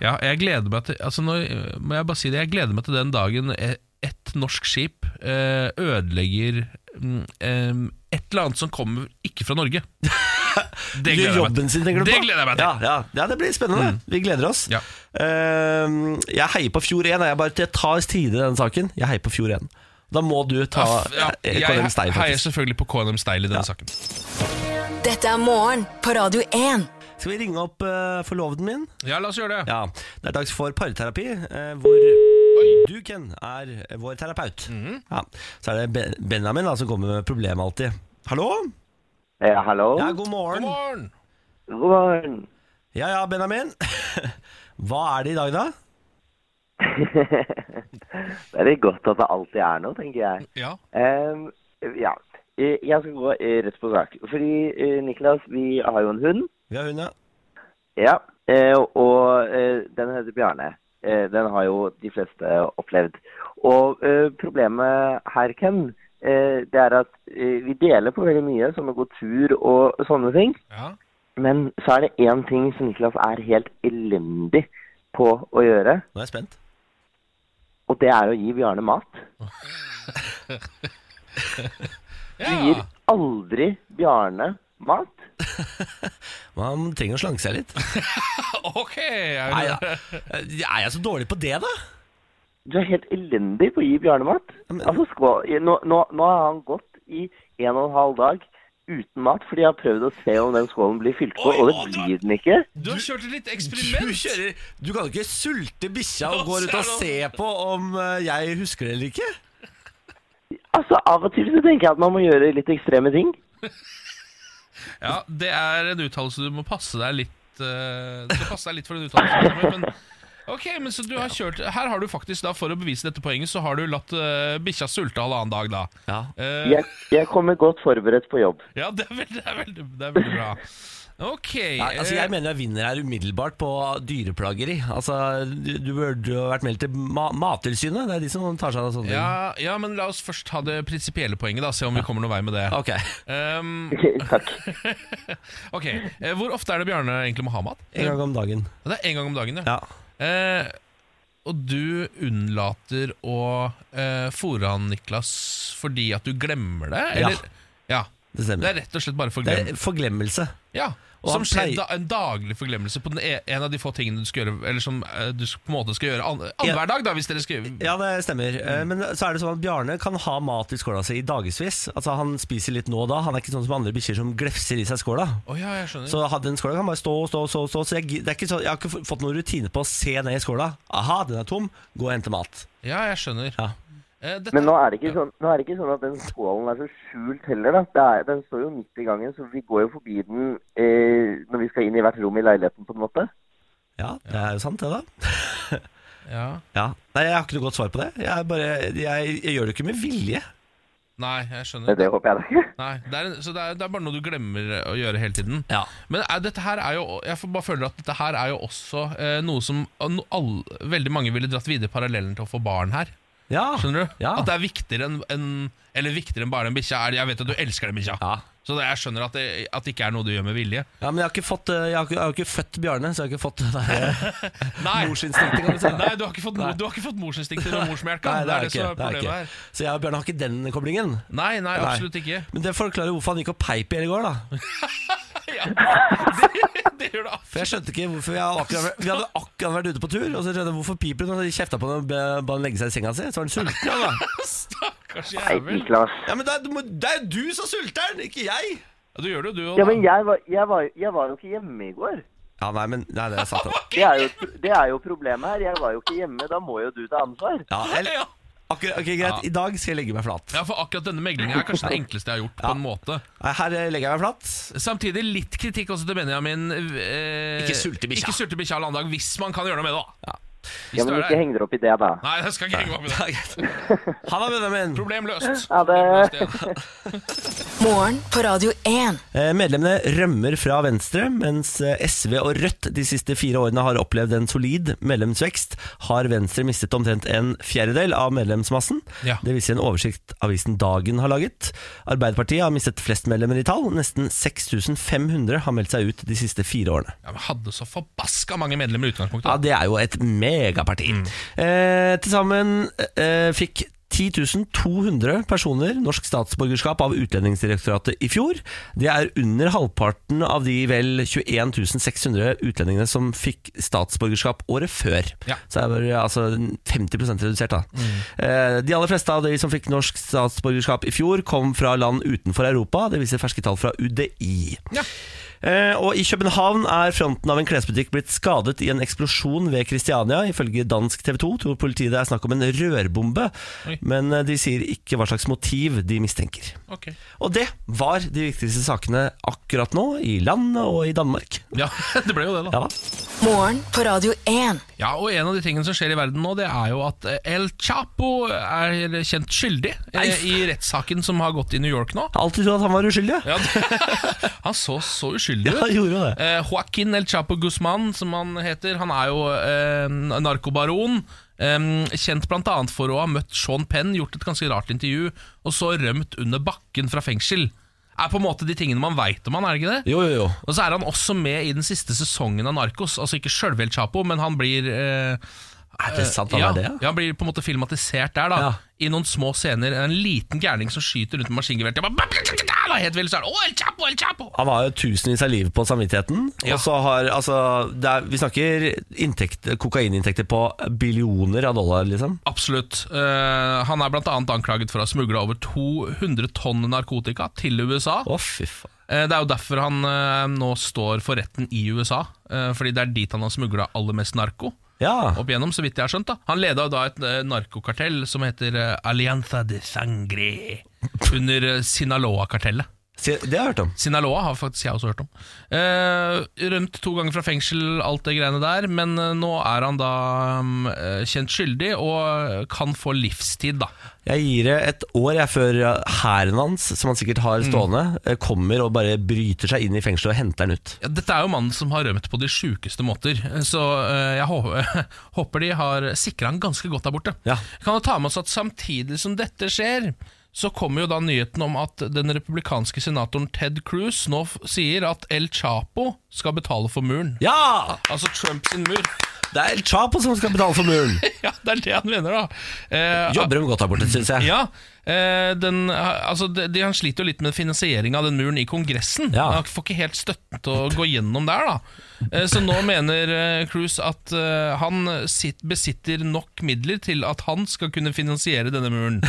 S2: Ja, jeg gleder meg til altså nå, øh, må jeg bare si det, jeg gleder meg til den dagen eh, et norsk skip øh, ødelegger mm, eh, et eller annet som kommer ikke fra Norge. Det
S1: Gjør
S2: gleder jeg meg til.
S1: jobben sin, tenker du på?
S2: Det gleder jeg meg til. Mm.
S1: Ja, ja. ja det blir spennende. Vi gleder oss.
S2: Ja.
S1: Eh, jeg heier på Fjord 1. Jeg, bare, jeg tar tide i denne saken. Jeg heier på Fjord 1. Da må du ta
S2: ja,
S1: eh,
S2: jeg
S1: KNM Steil,
S2: heier
S1: faktisk.
S2: selvfølgelig på KNM Steil i denne saken.
S3: Dette er morgen på Radio 1.
S1: Skal vi ringe opp eh, forloveden min?
S2: Ja, la oss gjøre det.
S1: Ja, det er dags for parterapi, eh, hvor du, Ken, er vår terapeut.
S2: Mhm.
S1: ja. Så er det ben Benjamin da, som kommer med problemet alltid. Hallo?
S4: Ja, hallo?
S1: Ja, god
S2: God
S1: morgen.
S2: morgen!
S4: God morgen.
S1: Ja, ja, Benjamin. Hva er det i dag, da?
S4: Det er litt godt at det alltid er noe, tenker jeg.
S2: Ja.
S4: Ehm, ja, Eh, jeg skal gå eh, rett på sak. Fordi, eh, Niklas, vi har jo en hund.
S1: Vi har hund, ja.
S4: Ja, eh, og eh, den heter Bjarne. Eh, Den har jo de fleste opplevd. Og eh, problemet her, Ken, eh, det er at eh, vi deler på veldig mye, som å gå tur og sånne ting.
S2: ja.
S4: Men så er det én ting som Niklas er helt elendig på å gjøre,
S1: Nå er jeg spent.
S4: og det er å gi Bjarne mat.
S2: ja.
S4: Gir aldri Bjarne mat.
S1: Man trenger å slanke seg litt.
S2: Ok! Jeg,
S1: Nei, ja. Eh, Er jeg så dårlig på det, da?
S4: Du er helt elendig på å gi Bjarne mat.
S1: men-
S4: Altså, skå- nå, nå, nå har han gått i en og en halv dag uten mat, fordi jeg har prøvd å se om den skålen blir fylt på,
S2: Oi,
S4: og
S2: å,
S4: det
S2: du-
S4: blir den ikke.
S2: Du har kjørt et litt
S1: Du,
S2: eksperiment.
S1: kjører, du kan jo ikke sulte bikkja
S2: Nå
S1: og gå rundt og
S2: ser du.
S1: se på om eh, jeg husker det eller ikke.
S4: Altså, Av og til så tenker jeg at man må gjøre litt ekstreme ting.
S2: Ja, Det er en uttalelse du må passe deg litt eh, Du skal passe deg litt for den uttalelsen. Men, ok, men så du har kjørt Her har du faktisk, da, for å bevise dette poenget, så har du latt uh, bikkja sulte halvannen dag, da.
S1: Ja.
S2: Eh,
S4: Jeg, jeg kommer godt forberedt på jobb.
S2: ja, det er, veldig, det, er veldig, det er veldig bra. Ok. eh,
S1: Nei, altså Jeg mener jeg vinner her umiddelbart på dyreplageri. Altså, Du du burde jo vært meldt til ma Mattilsynet. Det er de som tar seg av sånne
S2: ja, ja, men la oss først ta det prinsipielle poenget, da. Se om vi kommer noen vei med det.
S1: ting. Ok,
S2: Um,
S4: Takk.
S2: ok, eh, Hvor ofte er det Bjarne egentlig må ha mat?
S1: En gang om dagen.
S2: Det er én gang om dagen, ja.
S1: Ja.
S2: Eh, og du unnlater å eh, fôre han, Niklas, fordi at du glemmer det?
S1: Ja.
S2: Eller? Ja.
S1: Det
S2: Det er
S1: stemmer.
S2: rett og slett bare
S1: Det
S2: forglemmelse?
S1: er forglemmelse.
S2: Ja.
S1: Og
S2: Som
S1: han pleier-
S2: skjer da, en daglig forglemmelse på den e en av de få tingene du skal gjøre Eller som eh, du på en måte skal gjøre an annenhver dag, da, hvis dere skal
S1: Ja, det stemmer. Eh, Men så er det sånn at Bjarne kan ha mat i skåla si i dagevis. Altså, han spiser litt nå og da. Han er ikke sånn som andre bikkjer som glefser i seg skåla.
S2: Å ja, jeg skjønner.
S1: Så ha- den skåla kan bare stå og stå og stå. og stå. Så jeg, gi- det er ikke sånn- jeg har ikke f- fått noen rutine på å se ned i skåla. Aha, den er tom. Gå og hente mat.
S2: Ja, jeg skjønner.
S1: Ja.
S2: Eh, dette-
S4: Men nå er, det ikke sånn, nå er det ikke sånn at den skålen er så skjult heller. Da. Det er, den står jo midt i gangen, så vi går jo forbi den eh, når vi skal inn i hvert rom i leiligheten, på en måte.
S1: Ja, det er jo sant, det, da.
S2: ja.
S1: Ja. Nei, jeg har ikke noe godt svar på det. Jeg, er bare, jeg, jeg gjør det ikke med vilje.
S2: Nei, jeg
S4: Men
S2: skjønner.
S4: det håper jeg da ikke.
S2: Nei, det er, en- så det er, det er bare noe du glemmer å gjøre hele tiden.
S1: Ja.
S2: Men er, dette her er jo Jeg får bare føler at dette her er jo også eh, noe som no, all, veldig mange ville dratt videre parallellen til å få barn her.
S1: Ja.
S2: Skjønner du?
S1: Ja.
S2: At det er viktigere enn en, Eller viktigere enn bare den bikkja. er- Jeg vet at du elsker den bikkja,
S1: Ja.
S2: så det, jeg skjønner at det, at det ikke er noe du gjør med vilje.
S1: ja, men jeg har ikke fått eh, Jeg har ikke, jeg har ikke født Bjarne, så jeg har ikke fått det der
S2: Nei,
S1: morsinstinktet, kan du si.
S2: Nei du har ikke fått, du har ikke fått morsinstinkter og morsmelka.
S1: Nei,
S2: Det er det
S1: ikke,
S2: som er
S1: det
S2: problemet
S1: ikke.
S2: her.
S1: Så jeg og Bjarne har ikke den koblingen.
S2: Nei, nei, absolutt ikke.
S1: Men det forklarer hvorfor han gikk og peip i hele går, da.
S2: Ja. Det, det gjør
S1: For
S2: det absolutt.
S1: jeg skjønte ikke hvorfor Vi hadde akkurat, vi hadde akkurat vært ute på tur, og så skjønte jeg hvorfor piper hun, og så kjefta på henne og ba ba henne legge seg i senga si. Så var han sulten, ja da.
S2: Stakkars
S4: Nei,
S2: jævel.
S4: Niklas.
S1: Ja, men det er, du må- det er jo du som sulter den, ikke jeg.
S2: Ja, du gjør det, jo, du òg.
S4: Ja, men jeg var, jeg, var, jeg var jo ikke hjemme i går.
S1: Ja, nei, men Nei, det er sant. da.
S4: Det er, jo, det er jo problemet her. Jeg var jo ikke hjemme. Da må jo du ta ansvar.
S1: Ja, jeg,
S2: ja.
S1: akkurat, ok, Greit, i dag skal jeg legge meg flat.
S2: ja, for akkurat denne meglingen er kanskje det enkleste jeg har gjort. på en måte
S1: Nei, Her eh, legger jeg meg flat.
S2: Samtidig litt kritikk også til Benjamin. Eh,
S1: Ikke sulte bikkja.
S2: Ikke sulte bikkja halvannen dag, hvis man kan gjøre noe med det, da.
S1: Ja.
S4: Ja,
S2: Hvis du er
S4: men ikke
S2: der.
S4: heng dere opp i det, da.
S2: Nei, jeg skal ikke henge meg opp i det.
S1: Ja, greit. Ha det, Benjamin.
S2: Problem løst.
S4: Ha det.
S2: Problem løst, ja.
S3: Morgen på Radio 1.
S1: Eh, Medlemmene rømmer fra Venstre, mens eh, SV og Rødt de siste fire årene har opplevd en solid medlemsvekst, har Venstre mistet omtrent en fjerdedel av medlemsmassen.
S2: Ja.
S1: Det viser en oversikt avisen Dagen har laget. Arbeiderpartiet har mistet flest medlemmer i tall. Nesten 6500 har meldt seg ut de siste fire årene.
S2: Ja, men hadde så forbaska mange medlemmer i
S1: Ja,
S2: utgangspunktet.
S1: det er jo et megaparti. Eh, Til sammen eh, fikk 10.200 personer norsk statsborgerskap av Utlendingsdirektoratet i fjor. Det er under halvparten av de vel 21.600 utlendingene som fikk statsborgerskap året før.
S2: Ja. Mm.
S1: Så det er bare, altså 50 redusert, da. Eh, De aller fleste av de som fikk norsk statsborgerskap i fjor, kom fra land utenfor Europa. Det viser ferske tall fra UDI.
S2: Ja.
S1: Eh, Og i København er fronten av en klesbutikk blitt skadet i en eksplosjon ved Kristiania. Ifølge dansk TV 2 tror politiet det er snakk om en rørbombe,
S2: Oi.
S1: men eh, de sier ikke hva slags motiv de mistenker.
S2: Ok.
S1: Og det var de viktigste sakene akkurat nå, i landet og i Danmark.
S2: Ja, det ble jo det, da.
S1: Ja da.
S3: Morgen på Radio 1.
S2: Ja, og En av de tingene som skjer i verden nå, det er jo at eh, El Chapo er kjent skyldig eh, i rettssaken som har gått i New York nå.
S1: Jeg har alltid trodd at han var uskyldig. jeg.
S2: Ja, det- han så så uskyldig
S1: Ja, han
S2: ut.
S1: gjorde jo det.
S2: Eh, Joaquin El Chapo Guzman, som han heter, han er jo eh, narkobaron. Eh, kjent bl.a. for å ha møtt Sean Penn, gjort et ganske rart intervju, og så rømt under bakken fra fengsel. Er på en måte de tingene man veit om han, er det ikke det?
S1: Jo, jo, jo.
S2: Og så er han også med i den siste sesongen av Narkos. Altså ikke sjølve El Chapo, men han blir eh,
S1: Er det sant han
S2: ja,
S1: er det? ja?
S2: ja, han blir på en måte filmatisert der, da.
S1: Ja.
S2: I noen små scener. En liten gærning som skyter rundt med maskingevær. til- Helt vill, så er det «Å, El Chapo, El Chapo!
S1: Han har jo tusenvis av liv på samvittigheten.
S2: Ja.
S1: Og så har, altså, det er, Vi snakker inntekt, kokaininntekter på billioner av dollar, liksom.
S2: Absolutt. Eh, han er bl.a. anklaget for å ha smugla over 200 tonn narkotika til USA.
S1: Å, fy faen.
S2: Eh, det er jo derfor han eh, nå står for retten i USA, eh, fordi det er dit han har smugla aller mest narko.
S1: Ja.
S2: opp igjennom, så vidt jeg har skjønt. da Han leda jo da et eh, narkokartell som heter eh, Alianza de Sangre, under eh, Sinaloa-kartellet.
S1: Se, det har jeg hørt om.
S2: Sinaloa har faktisk jeg også hørt om. Eh, rømt to ganger fra fengsel, alt det greiene der, men eh, nå er han da mm, eh, kjent skyldig og kan få livstid, da.
S1: Jeg gir det et år jeg før hæren hans, som han sikkert har
S2: Mm.
S1: stående, eh, kommer og bare bryter seg inn i fengselet og henter den ut.
S2: Ja, dette er jo mannen som har rømt på de sjukeste måter, så eh, jeg hå- håper de har sikra han ganske godt der borte.
S1: Ja.
S2: Kan jo ta med oss at samtidig som dette skjer, så kommer jo da nyheten om at den republikanske senatoren Ted Cruz nå f sier at El Chapo skal betale for muren.
S1: Ja!
S2: Altså Trump sin mur.
S1: Det er El Chapo som skal betale for muren.
S2: ja, det er det han mener, da. Eh,
S1: Jobber de godt der borte, syns jeg.
S2: Ja, eh, den, altså, de, de, Han sliter jo litt med finansiering av den muren i Kongressen.
S1: Ja.
S2: Han får ikke helt støtten til å gå gjennom der. da eh, Så nå mener eh, Cruz at eh, han sitt, besitter nok midler til at han skal kunne finansiere denne muren.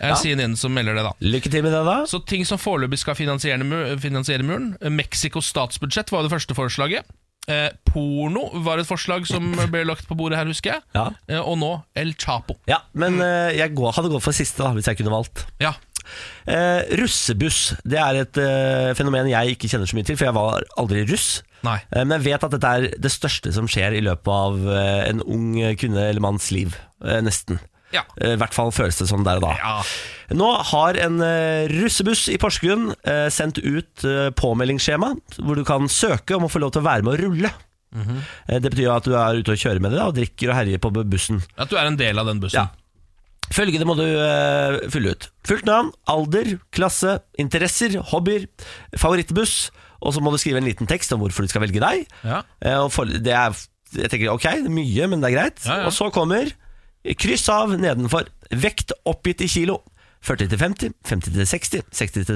S2: Eh, Er CNN som melder det, da.
S1: Lykke til med det, da.
S2: Så ting som foreløpig skal finansiere, mu- finansiere muren eh, Mexicos statsbudsjett var det første forslaget. Eh, porno var et forslag som ble lagt på bordet her, husker jeg.
S1: Ja.
S2: Eh, og nå El Chapo.
S1: Ja, Men
S2: Mm.
S1: eh, jeg går, hadde gått for siste da, hvis jeg kunne valgt.
S2: Ja,
S1: Eh, russebuss det er et eh, fenomen jeg ikke kjenner så mye til, for jeg var aldri russ.
S2: Nei.
S1: Eh, men jeg vet at dette er det største som skjer i løpet av eh, en ung kvinne eller manns liv. Eh, nesten.
S2: Ja.
S1: Eh, I hvert fall føles det sånn der og da.
S2: Ja.
S1: Nå har en eh, russebuss i Porsgrunn eh, sendt ut eh, påmeldingsskjema, hvor du kan søke om å få lov til å være med å rulle.
S2: Mhm.
S1: Eh, Det betyr jo at du er ute og kjører med det da, og drikker og herjer på bussen.
S2: At du er en del av den bussen.
S1: Ja. Følgende må du eh, fylle ut. Fullt navn, alder, klasse, interesser, hobbyer, favorittbuss, og så må du skrive en liten tekst om hvorfor du skal velge deg.
S2: Ja.
S1: Eh, og for, det er, jeg tenker, ok, det er mye, men det er greit.
S2: Ja, ja.
S1: Og så kommer kryss av nedenfor. Vekt oppgitt i kilo. 40 til 50, 50 til 60, 60 til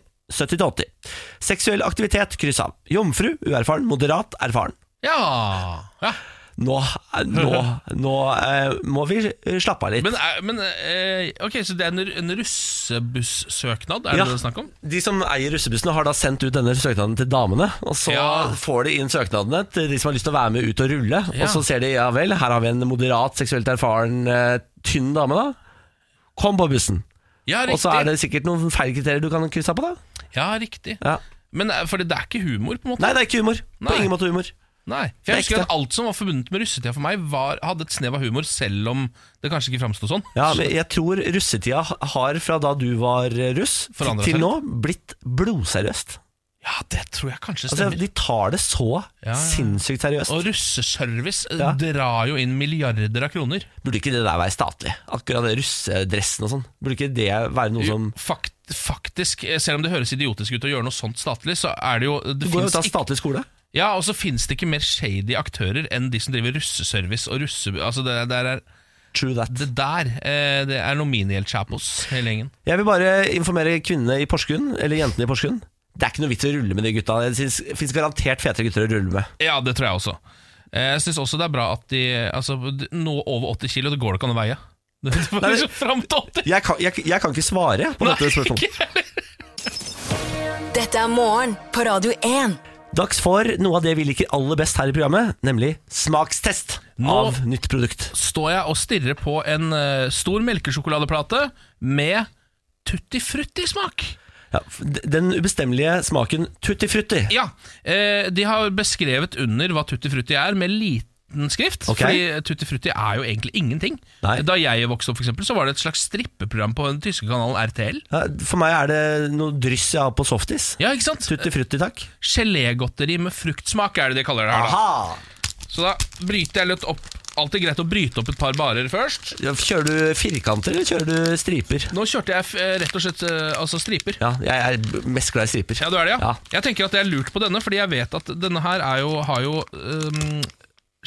S1: 70, 70 til 80. Seksuell aktivitet, kryss av. Jomfru, uerfaren, moderat, erfaren.
S2: Ja, ja.
S1: Nå, nå, nå eh, må vi slappe av litt.
S2: Men, er- men eh, ok, så det er en, ru- en russebussøknad, er
S1: Ja.
S2: det det er snakk om?
S1: De som eier russebussene har da sendt ut denne søknaden til damene, og så
S2: Ja.
S1: får de inn søknadene til de som har lyst til å være med ut og rulle,
S2: Ja.
S1: og så ser de ja vel, her har vi en moderat, seksuelt erfaren, eh, tynn dame da. Kom på bussen.
S2: Ja,
S1: Og så
S2: riktig.
S1: er det sikkert noen feil kriterier du kan krysse av på da.
S2: Ja, riktig.
S1: Ja.
S2: Men eh, fordi det er ikke humor, på en måte.
S1: Nei, det er ikke humor. På
S2: Nei.
S1: ingen måte humor.
S2: Nei.
S1: Det
S2: For
S1: er
S2: jeg husker
S1: ekte.
S2: at alt som var forbundet med russetida for meg, var, hadde et snev av humor, selv om det kanskje ikke framsto sånn.
S1: Ja, men jeg tror russetida har fra da du var russ til,
S2: Forandret seg
S1: til nå blitt blodseriøst.
S2: Ja, det tror jeg kanskje
S1: Altså,
S2: stemmer.
S1: de tar det så
S2: ja.
S1: sinnssykt seriøst.
S2: og russeservice eh,
S1: Ja.
S2: drar jo inn milliarder av kroner.
S1: Burde ikke det der være statlig? Akkurat det russedressen og sånn. Burde ikke det være noe som
S2: Fakt, faktisk, eh, selv om det høres idiotisk ut å gjøre noe sånt statlig, så er det jo
S1: Du
S2: Det
S1: går jo
S2: finnes
S1: til statlig skole.
S2: Ja, og så finnes det ikke mer shady aktører enn de som driver russeservice og russe... Altså, det, der er,
S1: True that.
S2: det der eh, det er noe mini-El Chapos, hele gjengen.
S1: Jeg vil bare informere kvinnene i Porsgrunn, eller jentene i Porsgrunn. Det er ikke noe vits i å rulle med de gutta. Det fins garantert fetere gutter å rulle med.
S2: Ja, det tror jeg også. Eh, Jeg syns også det er bra at de Altså, d- nå over 80 kilo, det går det ikke an å veie. Det var
S1: Nei,
S2: liksom fram til 80
S1: Jeg kan, jeg, jeg kan ikke svare på dette spørsmålet.
S2: ikke.
S3: Dette er morgen på Radio 1.
S1: Dags for noe av det vi liker aller best her i programmet, nemlig smakstest
S2: Nå-
S1: av nytt produkt.
S2: Står jeg og stirrer på en eh, stor melkesjokoladeplate med tutti frutti-smak.
S1: Ja, f- d- den ubestemmelige smaken tutti frutti.
S2: Ja, eh, de har beskrevet under hva tutti frutti er med liten skrift
S1: Ok.
S2: Fordi eh, tutti frutti er jo egentlig ingenting
S1: Nei.
S2: Da jeg vokste opp for eksempel Så var det et slags strippeprogram på den tyske kanalen RTL
S1: Ja, for meg er det noe dryss jeg har på softis.
S2: Ja, ikke sant?
S1: Tutti frutti, takk.
S2: Gelégodteri med fruktsmak er det de kaller det her da.
S1: Aha!
S2: Så da bryter jeg litt opp Alltid greit å bryte opp et par barer først
S1: Ja, Kjører du firkanter, eller kjører du striper?
S2: Nå kjørte jeg eh, rett og slett eh, altså striper
S1: Ja, jeg er mest glad i striper.
S2: Ja, du er det, ja.
S1: Ja.
S2: Jeg tenker at jeg er lurt på denne, fordi jeg vet at denne her er jo, har jo øhm,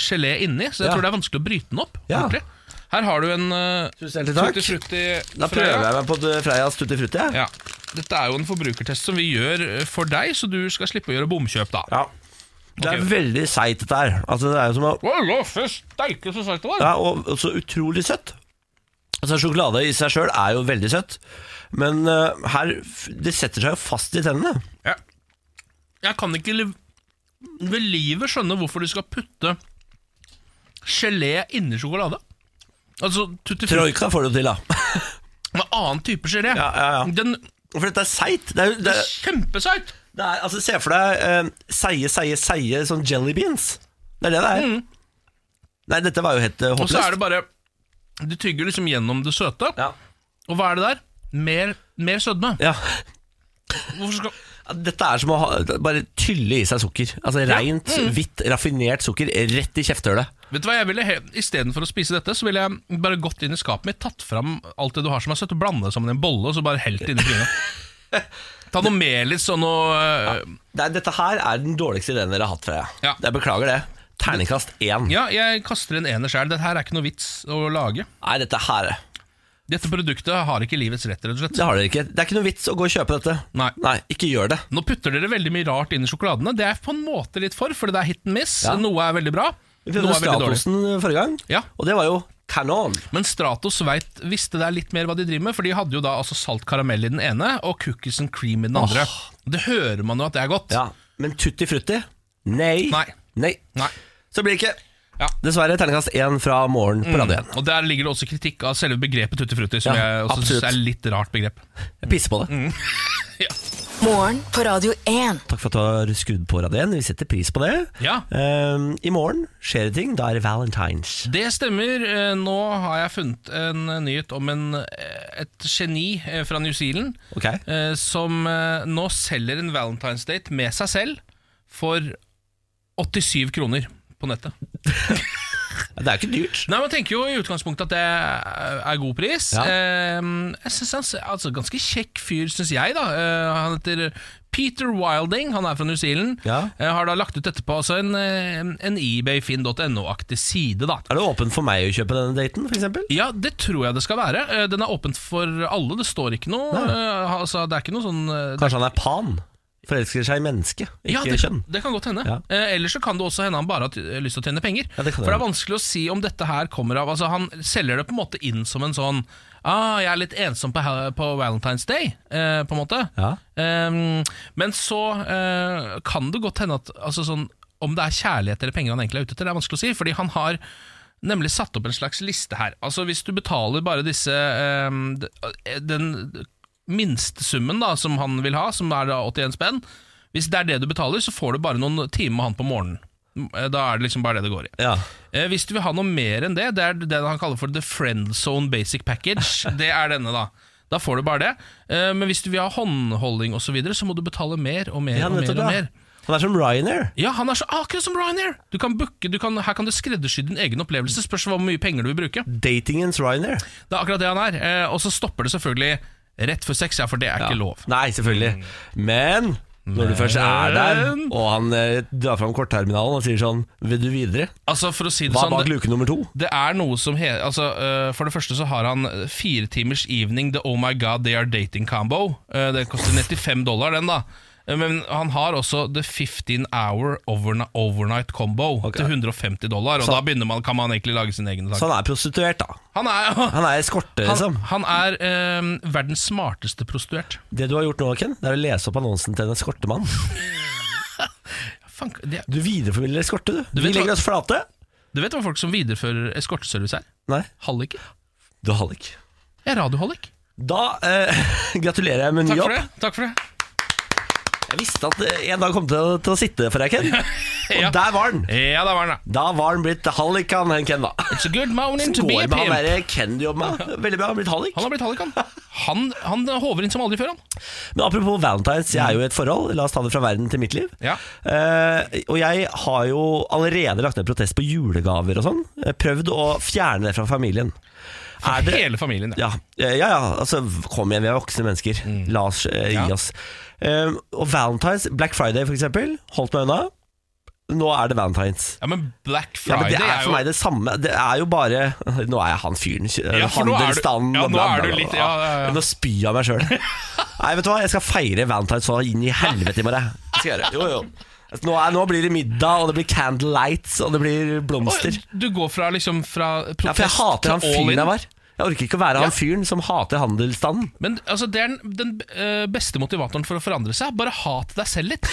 S2: gelé inni, så jeg
S1: Ja.
S2: tror det er vanskelig å bryte den opp.
S1: Ja.
S2: ordentlig. Her har du en øh,
S1: Tusen hjertelig takk.
S2: tutti-frutti
S1: Da
S2: fra-
S1: prøver jeg meg på Freias tutti frutti. jeg.
S2: Ja. Dette er jo en forbrukertest som vi gjør øh, for deg, så du skal slippe å gjøre bomkjøp, da.
S1: Ja. Det er
S2: Ok.
S1: veldig seigt, dette her. Altså, det er jo som å
S2: Wow, steike, så sagt det var.
S1: Ja, og og så utrolig søtt. Altså, sjokolade i seg sjøl er jo veldig søtt, men eh, her f- Det setter seg jo fast i tennene.
S2: Ja. Jeg kan ikke liv- ved livet skjønne hvorfor du skal putte gelé inni sjokolade. Altså tutti frutti
S1: Troika får det jo til, da.
S2: med annen type gelé.
S1: Ja, ja, ja.
S2: Den
S1: For dette er seigt. Det er, jo- det er,
S2: Kjempeseit!
S1: det er, altså, se for deg eh, seige, seige, seige sånn jelly beans. Det er det det er. Nei, dette var jo helt eh,
S2: Mm. Og så er
S1: håpløst.
S2: det bare Du tygger liksom gjennom det søte.
S1: Ja.
S2: Og hva er det der? Mer, mer sødme.
S1: ja.
S2: Hvorfor skal
S1: Dette er som å ha, bare tylle i seg sukker. Altså Rent,
S2: Mm.
S1: hvitt, raffinert sukker rett i kjeftehullet.
S2: Vet du hva jeg ville he- Istedenfor å spise dette, så ville jeg bare gått inn i skapet mitt, tatt fram alt det du har som er søtt, og blanda det sammen i en bolle, og så bare helt det inn i trynet. Ta noe melis og noe øh,
S1: Nei, Dette her er den dårligste ideen dere har hatt, Freya.
S2: Ja.
S1: Jeg beklager det. Terningkast én.
S2: Ja, jeg kaster en ener sjæl. Dette her er ikke noe vits å lage.
S1: Nei, dette her
S2: Dette produktet har ikke livets rett, rett og slett.
S1: Det har dere ikke. Det er ikke noe vits å gå og kjøpe dette.
S2: Nei.
S1: ikke gjør det.
S2: Nå putter dere veldig mye rart inn i sjokoladene. Det er jeg på en måte litt for, fordi det er hit and miss.
S1: Ja.
S2: Noe er veldig bra,
S1: Vi
S2: noe
S1: prøvde
S2: er veldig dårlig.
S1: Stratosen forrige gang,
S2: Ja.
S1: og det var jo kanon.
S2: Men Stratos vet, visste der litt mer hva de driver med, for de hadde jo da altså salt karamell i den ene og cookies and cream i den andre. Det hører man jo at det er godt.
S1: Ja. Men tutti frutti? Nei.
S2: Nei. Nei.
S1: Så blir det ikke.
S2: Ja. Mm.
S1: Dessverre terningkast én fra morgen på Radio 1.
S2: Og der ligger det også kritikk av selve begrepet tutti frutti, som
S1: Ja,
S2: jeg også
S1: absolutt.
S2: synes er litt rart begrep.
S1: Jeg pisser på det.
S3: Morgen på Radio 1.
S1: Takk for at du har skrudd på Radio 1. Vi setter pris på det.
S2: Ja.
S1: Ehm, I morgen skjer det ting. Da er det Valentine's.
S2: Det stemmer. Eh, Nå har jeg funnet en eh, nyhet om en, eh, et geni eh, fra New Zealand
S1: Ok.
S2: eh, som eh, nå selger en Valentine's Date med seg selv for 87 kroner på nettet.
S1: Det er ikke dyrt.
S2: Nei, Man tenker jo i utgangspunktet at det er god pris.
S1: Ja.
S2: Eh, jeg synes han ser- altså, Ganske kjekk fyr, syns jeg. da eh, Han heter Peter Wilding, han er fra New Zealand.
S1: Ja.
S2: Eh, har da lagt ut dette på altså, en, eh, en ebayfinn.no-aktig side. da
S1: Er det åpent for meg å kjøpe denne daten, f.eks.?
S2: ja, det tror jeg det skal være. Eh, Den er åpent for alle. Det står ikke noe.
S1: Nei.
S2: eh, Altså, det er ikke noe sånn eh, det-
S1: Kanskje han er pan? Forelsker seg i menneske, ikke
S2: ja, det,
S1: kjønn.
S2: det kan godt hende.
S1: Ja.
S2: Eh, Eller så kan det også hende han bare har ty- eh, lyst til å tjene penger.
S1: Ja, det kan
S2: For det er
S1: hende.
S2: vanskelig å si om dette her kommer av Altså Han selger det på en måte inn som en sånn Ah, jeg er litt ensom på, ha- på Valentine's Day, eh, på en måte.
S1: Ja.
S2: Ehm, men så eh, kan det godt hende at altså sånn, om det er kjærlighet eller penger han egentlig er ute etter, det er vanskelig å si. Fordi han har nemlig satt opp en slags liste her. Altså Hvis du betaler bare disse ehm, d- Den minstesummen da som han vil ha, som er da 81 spenn Hvis det er det du betaler, så får du bare noen timer med han på morgenen. Eh, Da er det liksom bare det det går i.
S1: Ja.
S2: Eh, Hvis du vil ha noe mer enn det, det er den han kaller for The Friend Zone Basic Package. Det er denne, da. Da får du bare det. Eh, Men hvis du vil ha håndholding osv., så, videre, så må du betale mer og mer.
S1: Ja,
S2: og mer,
S1: nettopp,
S2: og
S1: ja.
S2: mer.
S1: Han er som Ryanair.
S2: Ja, han er så akkurat som Ryanair! Du kan booke, du kan, her kan du skreddersy din egen opplevelse. Spørs hvor mye penger du vil bruke.
S1: Datingens Ryanair.
S2: Det er akkurat det han er. Eh, Og så stopper det selvfølgelig rett før sex, ja, for det er ikke lov.
S1: Nei, selvfølgelig. Men når du først er der,
S2: Men-
S1: og han eh, drar fram kortterminalen og sier sånn Vil du videre?
S2: Altså, for å si det
S1: Hva er
S2: sånn
S1: bak luke nummer to?
S2: Det er noe som he altså, øh, For det første så har han øh, fire timers evening The Oh My God They Are Dating Combo. Øh, den koster 95 dollar, den, da. Eh, Men han har også The 15 Hour Overna- Overnight Combo til 150 dollar. Og
S1: Så-
S2: da begynner man, kan man egentlig lage sin egen sang.
S1: Så han er prostituert, da.
S2: Han er,
S1: Han er eskorte,
S2: han,
S1: liksom.
S2: han er eh, verdens smarteste prostituert.
S1: Det du har gjort nå, Ken, det er å lese opp annonsen til en eskortemann.
S2: Fank, det,
S1: Du videreformidler eskorte, du.
S2: Du
S1: vi
S2: vet
S1: legger
S2: hva-
S1: oss flate.
S2: du vet hva folk som viderefører eskorteservice er?
S1: Nei,
S2: Halliker.
S1: du har det ikke.
S2: Jeg er radiohallik.
S1: Da eh, gratulerer jeg med ny
S2: Takk
S1: jobb.
S2: for det. Takk for det.
S1: Jeg visste at eh, en dag kom til å, til å sitte for deg, Ken. Og
S2: Ja.
S1: der var den.
S2: Ja, der var den, da.
S1: Da var den blitt hallikan, den Ken, da.
S2: It's a good morning to
S1: Går
S2: be a
S1: med han
S2: pimp.
S1: derre Ken du jobber med. Veldig bra, han har blitt hallik.
S2: Han har blitt hallik, han. Han, han håver inn som aldri før, han.
S1: Men apropos valentines, jeg er jo i et forhold. La oss ta det fra verden til mitt liv.
S2: Ja.
S1: Eh, og jeg har jo allerede lagt ned protest på julegaver og sånn. Eh, Prøvd å fjerne det fra familien. Er det-
S2: Hele familien. Ja.
S1: Ja, ja, ja altså, kom igjen, vi er voksne mennesker. La oss eh, gi
S2: Mm. Ja.
S1: oss. Eh, og Valentine's, Black Friday for eksempel, holdt meg unna. Nå er det Valentine's.
S2: ja, men Black
S1: Ja,
S2: Friday
S1: men Det
S2: er,
S1: er for
S2: jo
S1: meg det samme. Det er jo bare Nå er jeg han fyren.
S2: Ja, for nå er du-
S1: handelsstanden
S2: ja,
S1: og
S2: nå
S1: bla,
S2: er
S1: bla,
S2: du
S1: bla,
S2: litt-
S1: bla.
S2: ja, ja, ja.
S1: Nå spyr jeg av meg sjøl. Nei, vet du hva, jeg skal feire Valentine's så inn i helvete i morgen. Det skal jeg gjøre. Jo, jo. Nå, er, nå blir det middag, og det blir candle lights, og det blir blomster.
S2: Oi, Du går fra liksom fra
S1: Ja, for jeg
S2: protest
S1: hater han
S2: til all
S1: fyren
S2: in.
S1: jeg var. Jeg orker ikke å være
S2: Ja.
S1: han fyren som hater handelsstanden.
S2: Men altså, det er den, den eh, beste motivatoren for å forandre seg. Bare hat deg selv litt.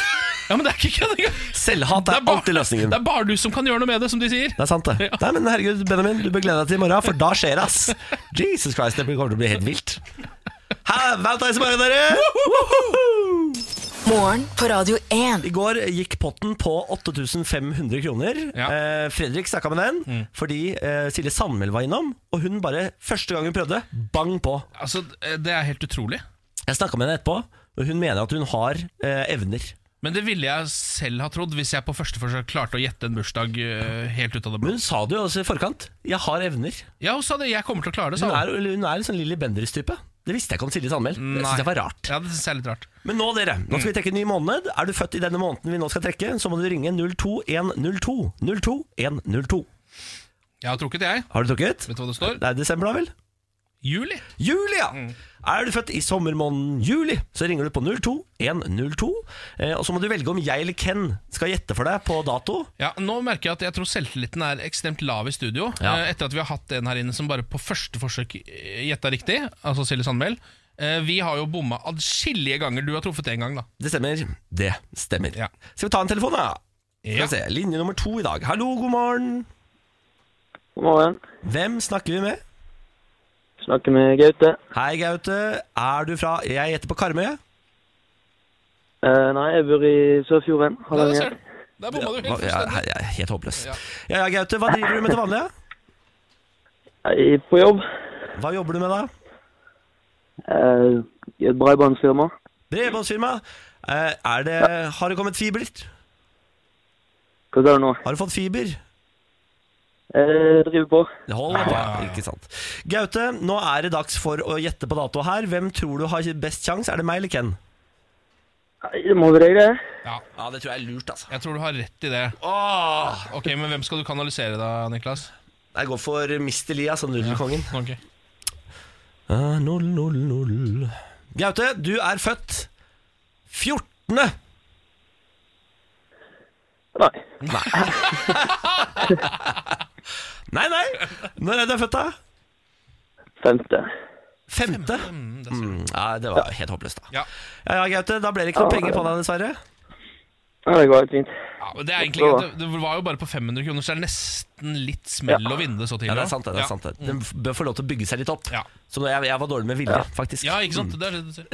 S2: Ja, men det er ikke kødd engang!
S1: Selvhat er alltid løsningen.
S2: det er bare du som kan gjøre noe med det, som de sier.
S1: Det er sant, det. Nei, men herregud, Benjamin, du bør glede deg til i morgen, for da skjer det, ass. Jesus Christ, det kommer til å bli helt vilt. Ha, Valentine's i morgen, dere! Woohoo!
S3: Morgen på Radio 1.
S1: I går gikk potten på 8500 kroner.
S2: Ja. Mm.
S1: Eh, Fredrik snakka med den fordi eh, Silje Sandmæl var innom, og hun bare første gang hun prøvde, bang på.
S2: Altså, Det er helt utrolig.
S1: Jeg snakka med henne etterpå, og hun mener at hun har eh, evner.
S2: Men det ville jeg selv ha trodd hvis jeg på første forsøk klarte å gjette en bursdag eh, helt ut av det blå.
S1: Men hun sa det jo også i forkant. 'Jeg har evner'.
S2: Ja, hun sa det. Jeg kommer til å klare det, sa
S1: Hun
S2: hun.
S1: er, hun er en sånn Lilly Bendriss-type. Det visste jeg ikke om Silje Sandmæl. Det
S2: Nei.
S1: synes jeg var rart.
S2: Ja, det synes jeg er litt rart.
S1: Men nå, dere. Nå
S2: Mm.
S1: skal vi trekke en ny måned. Er du født i denne måneden vi nå skal trekke, så må du ringe 02102. 02102.
S2: Jeg har trukket, jeg.
S1: Har du trukket?
S2: Vet du hva Mm. det står?
S1: Det er desember, da vel?
S2: Juli.
S1: Juli, ja! Er du født i sommermåneden juli, så ringer du på 02102. Eh, og så må du velge om jeg eller Ken skal gjette for deg på dato.
S2: Ja, Nå merker jeg at jeg tror selvtilliten er ekstremt lav i studio.
S1: Ja.
S2: Eh, etter at vi har hatt en her inne som bare på første forsøk eh, gjetta riktig, altså Silje Sandmæl. Eh, vi har jo bomma adskillige ganger. Du har truffet én gang, da.
S1: Det stemmer. Det stemmer.
S2: Ja.
S1: Skal vi ta en telefon, da?
S2: Ja.
S1: Skal vi se. Linje nummer to i dag. Hallo, god morgen.
S4: God morgen.
S1: Hvem snakker vi med?
S4: Snakker med Gaute.
S1: Hei, Gaute. Er du fra Jeg gjetter på Karmøy.
S4: Eh, nei, jeg bor i Sørfjorden.
S2: Der,
S4: Hardanger.
S2: ser du. Der bomma du helt
S1: Hva- Ja,
S2: fullstendig.
S1: jeg er helt håpløs.
S2: Ja.
S1: Ja ja, Gaute. Hva driver du med til vanlig? ja?
S4: Jeg er Eh, på jobb.
S1: Hva jobber du med, da?
S4: Eh, I et bredbåndsfirma.
S1: Bredbåndsfirma. Eh, Er det Har det kommet fiber?
S4: Hva sa du nå?
S1: Har du fått fiber?
S4: Eh, driver på.
S1: Det holder, ja. Ikke sant. Gaute, nå er det dags for å gjette på dato her. Hvem tror du har best sjanse? Er det meg eller Ken?
S4: Nei, det må være deg, det.
S2: Ja,
S1: Ja, det tror jeg er lurt, altså.
S2: jeg tror du har rett i det.
S1: Åh,
S2: Ok, Men hvem skal du kanalisere da, Niklas?
S1: jeg går for Mr. Lia, altså nudelkongen.
S2: Ok.
S1: Ah, null, null, null. Gaute, du er født 14.
S4: Nei.
S1: Nei, nei. Når er du født, da?
S4: Femte.
S1: Femte?
S2: Mm, det ser du.
S1: Mm, ja, det var helt håpløst, da.
S2: Ja.
S1: Ja, ja, Gaute, da ble det ikke noe
S4: Ja.
S1: penger på deg, dessverre.
S4: Ja, det går helt fint.
S2: Ja, men det, er egentlig, greit. det, det var jo bare på 500 kroner, så det er nesten litt smell å vinne det så tidlig.
S1: Ja, det
S2: da.
S1: er sant, det. det
S2: Ja. Mm.
S1: er sant det. Den bør få lov til å bygge seg litt opp.
S2: Ja.
S1: Så nå- jeg, jeg var dårlig med vilje, faktisk. Mm.
S2: Ja, ikke sant? Det er det du sier.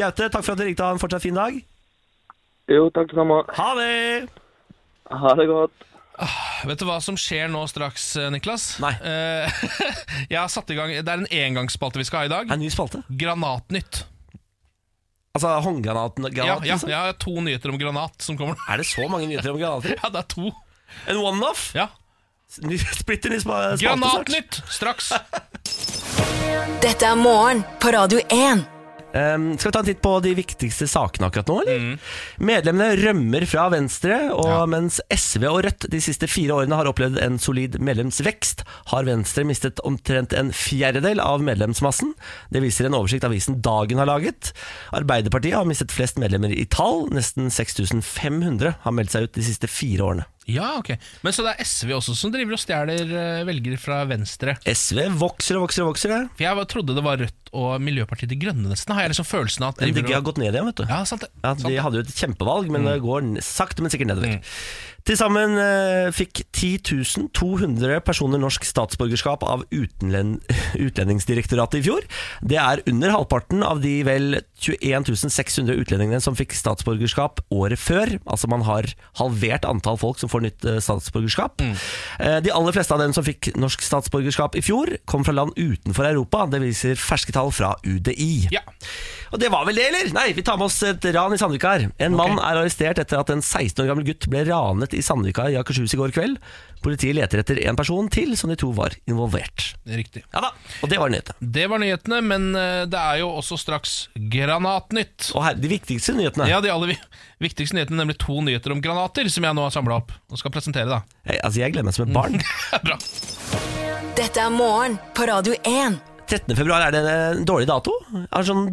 S1: Gaute, takk for at du ringte. Ha en fortsatt fin dag.
S4: Jo, takk det samme.
S1: Ha det!
S4: Ha det godt.
S2: Vet du hva som skjer nå straks, eh, Niklas?
S1: Nei.
S2: Eh, jeg har satt i gang, Det er en engangsspalte vi skal ha i dag.
S1: Er ny spalte?
S2: Granatnytt.
S1: Altså håndgranaten
S2: Ja,
S1: granat,
S2: ja,
S1: liksom?
S2: jeg har to nyheter om granat som kommer nå.
S1: Er det så mange nyheter om granater?
S2: Ja, det er to.
S1: En one-off?
S2: Ja.
S1: Ny- Splitter ny spa- spalte snart.
S2: Granatnytt straks!
S3: Dette er morgen på Radio 1.
S1: Ehm, skal vi ta en titt på de viktigste sakene akkurat nå, eller? Medlemmene rømmer fra Venstre, og mens SV og Rødt de siste fire årene har opplevd en solid medlemsvekst, har Venstre mistet omtrent en fjerdedel av medlemsmassen. Det viser en oversikt avisen Dagen har laget. Arbeiderpartiet har mistet flest medlemmer i tall. Nesten 6500 har meldt seg ut de siste fire årene.
S2: Ja, ok Men så det er SV også som driver og stjeler eh, velgere fra venstre.
S1: SV vokser og vokser og vokser. det.
S2: For jeg var- trodde det var Rødt og Miljøpartiet De Grønne, nesten. Har jeg liksom følelsen av at de
S1: MDG
S2: driver
S1: har gått ned igjen, vet du.
S2: Ja, sant det.
S1: Ja,
S2: sant
S1: De
S2: det.
S1: hadde jo et kjempevalg, men det går n- sakte, men sikkert nedover. Til sammen eh, fikk 10 200 personer norsk statsborgerskap av utlen Utlendingsdirektoratet i fjor. Det er under halvparten av de vel 21 600 utlendingene som fikk statsborgerskap året før. Altså man har halvert antall folk som får nytt eh, statsborgerskap. Eh, De aller fleste av dem som fikk norsk statsborgerskap i fjor, kom fra land utenfor Europa. Det viser ferske tall fra UDI.
S2: Ja.
S1: Og det var vel det, eller? Nei, vi tar med oss et ran i Sandvika her. En mann er arrestert etter at en 16 år gammel gutt ble ranet i Sandvika i Akershus i går kveld. Politiet leter etter en person til som de to var involvert.
S2: Riktig.
S1: Ja da, og det var nyhetene.
S2: Det var nyhetene, men eh, det er jo også straks Granatnytt.
S1: Og her, de viktigste nyhetene.
S2: Ja, de aller vi- viktigste nyhetene, nemlig to nyheter om granater, som jeg nå har samla opp og skal presentere, da.
S1: Jeg, altså, jeg gleder meg som et barn.
S2: Bra.
S3: Dette er morgen på Radio 1.
S1: 13. februar, er det en dårlig dato? Er det sånn,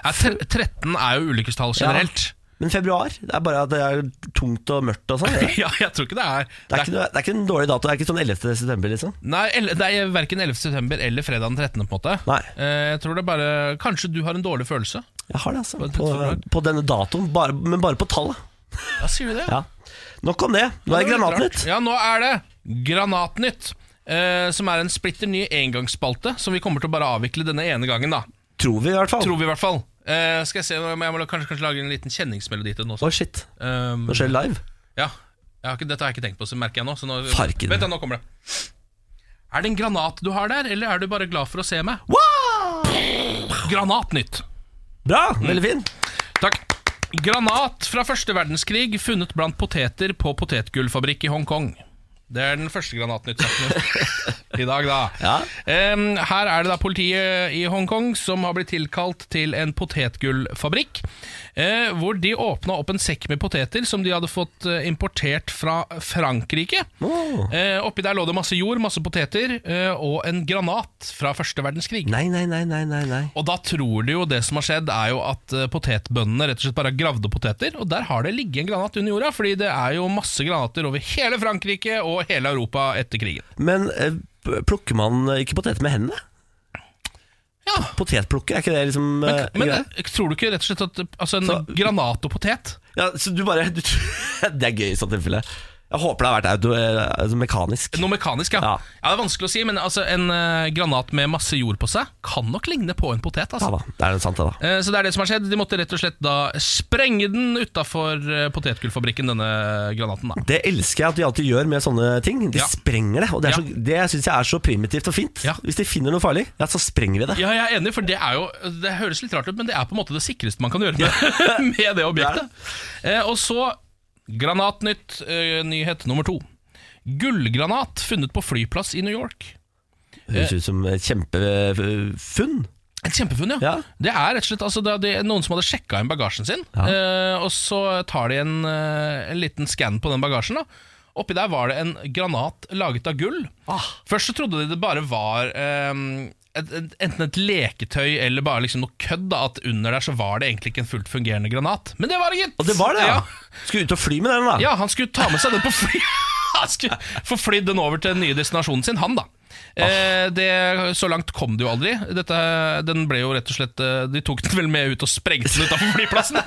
S2: Ja, tre- 13 er jo ulykkestall generelt.
S1: men februar? Det er bare at det er tungt og mørkt og sånn.
S2: Ja.
S1: Det.
S2: jeg tror ikke det er
S1: Det, er ikke, noe- det er ikke en dårlig dato. Det er ikke sånn 11. september, liksom.
S2: Nei, el- det er verken 11. september eller fredag den 13. på en måte.
S1: Nei.
S2: Eh, Jeg tror det er bare Kanskje du har en dårlig følelse?
S1: Jeg har det, altså.
S2: Bare
S1: På,
S2: februar.
S1: på denne datoen, bare, men bare på tallet.
S2: Ja, sier du det?
S1: Ja. Nok om det. Nå er det
S2: var litt
S1: Granatnytt.
S2: rart. Ja, nå er det Granatnytt. eh, som er en splitter ny engangsspalte som vi kommer til å bare avvikle denne ene gangen. da
S1: Tror vi, i hvert fall.
S2: Tror vi, i hvert fall. Eh, skal jeg se, jeg må kanskje, kanskje lage en liten kjenningsmelodi til den
S1: Å,
S2: også.
S1: shit.
S2: Um,
S1: Nå skjer det live.
S2: Ja, jeg har ikke, Dette har jeg ikke tenkt på, så merker jeg nå. Så nå
S1: Farken.
S2: Vent, da, nå kommer det. Er det en granat du har der, eller er du bare glad for å se meg? Granatnytt.
S1: Bra! Veldig fin.
S2: Takk. Granat fra første verdenskrig funnet blant poteter på potetgullfabrikk i Hongkong. Det er den første granatnyttsaken i dag, da.
S1: Ja.
S2: Em, her er det da politiet i Hongkong som har blitt tilkalt til en potetgullfabrikk. eh, hvor de åpna opp en sekk med poteter som de hadde fått eh, importert fra Frankrike.
S1: Åh.
S2: Eh, oppi der lå det masse jord, masse poteter eh, og en granat fra første verdenskrig.
S1: Nei, nei, nei, nei, nei, nei.
S2: Og da tror du jo det som har skjedd er jo at eh, potetbøndene rett og slett bare har gravd opp poteter, og der har det ligget en granat under jorda, fordi det er jo masse granater over hele Frankrike og hele Europa etter krigen.
S1: Men eh, p- plukker man eh, ikke poteter med hendene?
S2: Ja,
S1: Potetplukke, er ikke det liksom eh,
S2: men
S1: greia?
S2: eh, tror du ikke rett og slett at eh, altså, en
S1: Så-
S2: granat og potet
S1: ja, Så du bare du, Det er gøy i sånt tilfelle. Jeg håper det har vært auto, eh, altså mekanisk.
S2: Noe mekanisk, ja.
S1: Ja.
S2: ja. Det er vanskelig å si, men altså, en eh, granat med masse jord på seg kan nok ligne på en potet.
S1: Ja
S2: altså.
S1: da, det er det sant, det, da.
S2: Eh, Så det er det som har skjedd. De måtte rett og slett da sprenge den utafor eh, potetgullfabrikken, denne granaten. da
S1: Det elsker jeg at de alltid gjør med sånne ting. De
S2: Ja.
S1: sprenger det. Og det, er
S2: Ja.
S1: så, det syns jeg er så primitivt og fint.
S2: Ja.
S1: Hvis de finner noe farlig, ja, så sprenger vi det.
S2: Ja, jeg er enig, for det er jo Det høres litt rart ut, men det er på en måte det sikreste man kan gjøre med, med det objektet. Eh, og så Granatnytt, eh, nyhet nummer to. Gullgranat funnet på flyplass i New York.
S1: Høres ut som et kjempefunn.
S2: Et kjempefunn, ja.
S1: Ja.
S2: Det er rett og slett altså, det er det er noen som hadde sjekka inn bagasjen sin,
S1: Ja.
S2: eh, og så tar de en, eh, en liten skann på den bagasjen. da Oppi der var det en granat laget av gull.
S1: Ah.
S2: Først så trodde de det bare var eh, et, et, enten et leketøy eller bare liksom noe kødd. da At under der så var det egentlig ikke en fullt fungerende granat. Men det var det, gitt!
S1: Og det var det, ja!
S2: Ja,
S1: Skulle ut og fly med den, da.
S2: ja, han skulle ta med seg den på fly Han skulle få flydd den over til den nye destinasjonen sin, han da eh, det, Så langt kom det jo aldri Dette, Den ble jo rett og slett eh, De tok den vel med ut og sprengte den utenfor flyplassen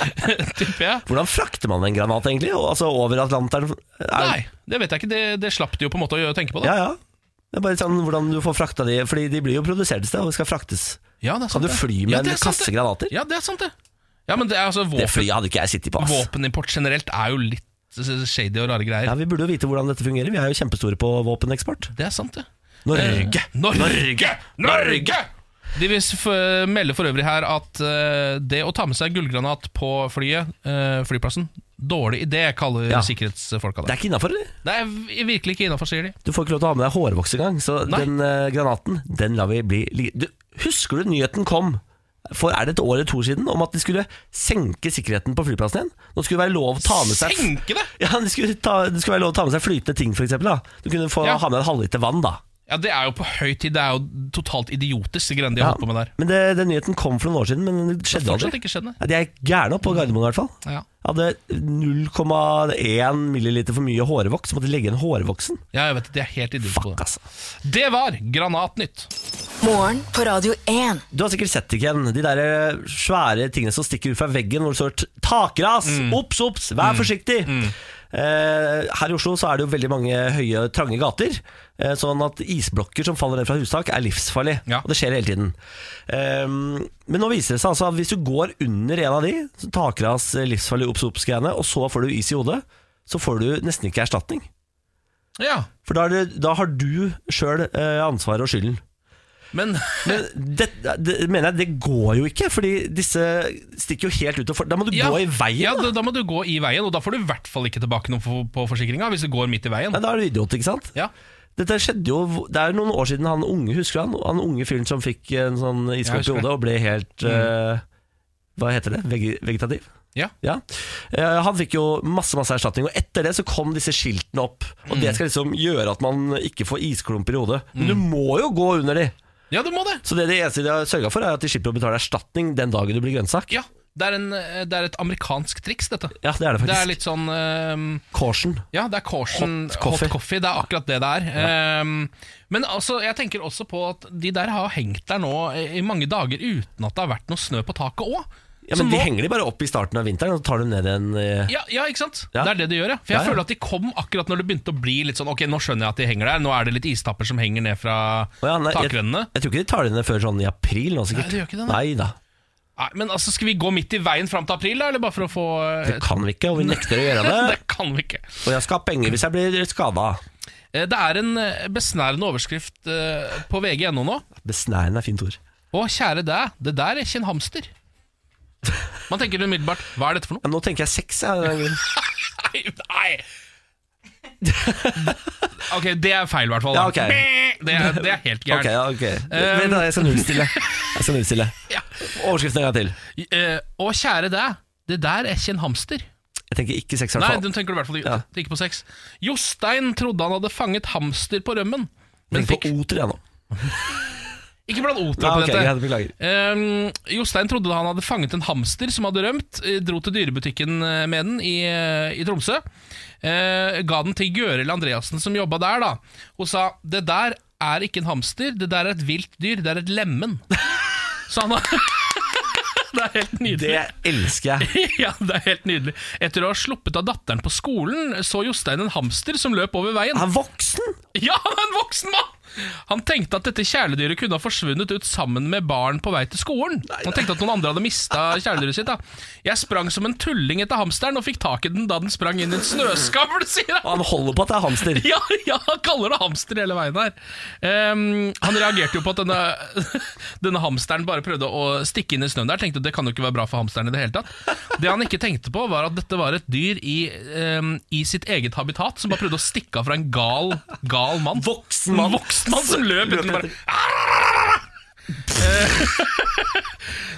S2: Tipper jeg
S1: Hvordan frakter man en granat egentlig? Og- Altså over Atlanteren? Er-
S2: Nei, det vet jeg ikke, det, det slapp de jo på en måte å gjøre- tenke på da
S1: Ja, ja. Det er bare sånn hvordan du får frakta de, fordi de blir jo produsert et sted og skal fraktes.
S2: Ja, det er
S1: Kan
S2: sant
S1: du
S2: det.
S1: fly med
S2: Ja, det
S1: en
S2: er sant
S1: kasse
S2: det.
S1: granater?
S2: Ja, det er sant det Ja, men det er altså
S1: Det
S2: våpen,
S1: flyet hadde ikke jeg sittet på, ass.
S2: våpenimport generelt er jo litt eh, shady og rare greier
S1: Ja, vi burde jo vite hvordan dette fungerer. Vi er jo kjempestore på våpeneksport.
S2: Det er sant det
S1: Norge!
S2: Eh, Norge! Norge! De vil s- f- melde for øvrig her at eh, det å ta med seg gullgranat på flyet, eh, flyplassen, dårlig idé, kaller
S1: Ja.
S2: sikkerhetsfolka
S1: Det er
S2: det.
S1: ikke innafor, eller?
S2: Det er v- virkelig ikke innafor, sier de.
S1: Du får ikke lov til å ha med deg hårvoks engang, så
S2: Nei.
S1: den eh, granaten, den lar vi bli ligge. Du, Husker du nyheten kom? For er det et år eller to år siden om at de skulle senke sikkerheten på flyplassen igjen? Nå skulle det være lov å ta med seg
S2: Senke det!
S1: Ja, det skulle, ta, det skulle være lov å ta med seg flytende ting, for eksempel. Da. Du kunne få
S2: Ja.
S1: ha med en halvliter vann, da.
S2: Ja, Det er jo på høy tid. Det er jo totalt idiotisk, de greiene de har holdt på med der.
S1: Men det, Den nyheten kom for noen år siden, men det
S2: Det
S1: skjedde
S2: har
S1: aldri.
S2: fortsatt ikke skjedd, nei.
S1: Ja, de er gærne oppe på Gardermoen i hvert fall.
S2: Ja.
S1: Hadde 0,1 milliliter for mye hårvoks, så måtte de legge igjen hårvoksen.
S2: Ja, jeg vet det. De er helt idiotiske på
S1: Fuck,
S2: det.
S1: altså.
S2: Det var Granatnytt.
S3: Morgen på Radio 1.
S1: Du har sikkert sett det, Ken. De der eh, svære tingene som stikker ut fra veggen. Hvor det står t- 'takras'! Ops, ops! Vær forsiktig! Eh, her i Oslo så er det jo veldig mange høye, trange gater. eh, sånn at isblokker som faller ned fra hustak, er livsfarlig.
S2: Ja.
S1: Og det skjer hele tiden. Ehm, men nå viser det seg altså at hvis du går under en av de, så 'takras', eh, livsfarlig, ops, ops-greiene, og så får du is i hodet, så får du nesten ikke erstatning.
S2: Ja,
S1: For da, er det, da har du sjøl eh, ansvaret og skylden.
S2: men
S1: Men det, det, mener jeg, det går jo ikke, fordi disse stikker jo helt ut. Og for, da må du
S2: ja,
S1: gå i veien.
S2: Ja,
S1: da.
S2: da, da må du gå i veien, og da får du i hvert fall ikke tilbake noe for, på forsikringa hvis du går midt i veien.
S1: Nei, da er du idiot, ikke sant?
S2: Ja,
S1: Dette skjedde jo, Det er jo noen år siden han unge husker du han, han unge fyren som fikk en sånn iskopp i
S2: husker det. Mm.
S1: hodet og ble helt eh, Hva heter det? Veg vegetativ?
S2: Ja.
S1: Eh, han fikk jo masse masse erstatning, og etter det så kom disse skiltene opp. Og
S2: Mm.
S1: Det skal liksom gjøre at man ikke får isklumper i hodet. Men du må jo gå under de!
S2: ja du må det!
S1: Så det de eneste de har sørga for, er at de slipper å betale erstatning den dagen du blir grønnsak.
S2: Ja, det er, en, det er et amerikansk triks, dette.
S1: Ja, det er det
S2: Det
S1: faktisk.
S2: er litt sånn ehm,
S1: Caution.
S2: Ja, det er Caution hot,
S1: Hot coffee.
S2: coffee. Det er akkurat det det er. Ehm, men altså, jeg tenker også på at de der har hengt der nå i mange dager uten at det har vært noe snø på taket òg.
S1: Ja, men De henger de bare opp i starten av vinteren, og så tar de ned igjen. eh,
S2: ja, ja, ikke sant?
S1: Ja.
S2: Det er det de gjør, ja. For jeg
S1: Ja, ja.
S2: føler at de kom akkurat når det begynte å bli litt sånn Ok, nå skjønner jeg at de henger der. Nå er det litt istapper som henger ned fra
S1: Å ja, nei, jeg-
S2: takrennene.
S1: Jeg tror ikke de tar det ned før sånn i april nå,
S2: Nei,
S1: sikkert.
S2: de gjør ikke det,
S1: Nei da,
S2: Nei, men altså, skal vi gå midt i veien fram til april, da? Eller bare for å få eh,
S1: det kan vi ikke, og vi nekter å gjøre det.
S2: det kan vi ikke.
S1: Og jeg skal ha penger hvis jeg blir skada.
S2: Eh, Det er en eh, besnærende overskrift eh, på vg.no nå.
S1: Besnærende er fint ord.
S2: Å, kjære deg, det der er ikke en hamster. Man tenker umiddelbart hva er dette for noe?
S1: Ja, nå tenker jeg sex, jeg. av en grunn.
S2: Nei, nei Ok, det er feil, i hvert fall. da.
S1: Ja, ok.
S2: det, er, det er helt
S1: Ok,
S2: gærent.
S1: ja, ok. Vent, da, jeg skal nullstille. Jeg skal nullstille.
S2: Um, Ja.
S1: Overskriften en gang til.
S2: Eh, Å, kjære deg, det der er ikke en hamster.
S1: Jeg tenker ikke sex, i hvert
S2: Nei,
S1: fall.
S2: den tenker du i hvert fall ikke,
S1: Ja.
S2: ikke på sex. Jostein trodde han hadde fanget hamster på rømmen, men
S1: Tenk
S2: fikk
S1: på oter, jeg nå.
S2: Ikke blant oter
S1: Nei,
S2: på
S1: ok,
S2: dette.
S1: greit, beklager.
S2: Ehm, Jostein trodde han hadde fanget en hamster som hadde rømt, eh, dro til dyrebutikken eh, med den i, eh, i Tromsø. Eh, ga den til Gøril Andreassen som jobba der, da. Hun sa det der er ikke en hamster, det der er et vilt dyr, det er et lemen. Så han har Det er helt nydelig.
S1: Det elsker jeg.
S2: Ja, det er helt nydelig. Etter å ha sluppet av datteren på skolen, så Jostein en hamster som løp over veien.
S1: Han er voksen!
S2: Ja, han er en voksen mann! Han tenkte at dette kjæledyret kunne ha forsvunnet ut sammen med barn på vei til skolen. Han tenkte at noen andre hadde mista kjæledyret sitt. da Jeg sprang som en tulling etter hamsteren og fikk tak i den da den sprang inn i en snøskavl, sier
S1: Og
S2: han.
S1: han holder på at det er hamster.
S2: Ja, ja, han kaller det hamster hele veien her. Ehm, han reagerte jo på at denne, denne hamsteren bare prøvde å stikke inn i snøen der. Tenkte at det kan jo ikke være bra for hamsteren i det hele tatt. Det han ikke tenkte på, var at dette var et dyr i, ehm, i sitt eget habitat, som bare prøvde å stikke av fra en gal, gal mann.
S1: Voksen
S2: En voksen mann som løp uten å bare Eh,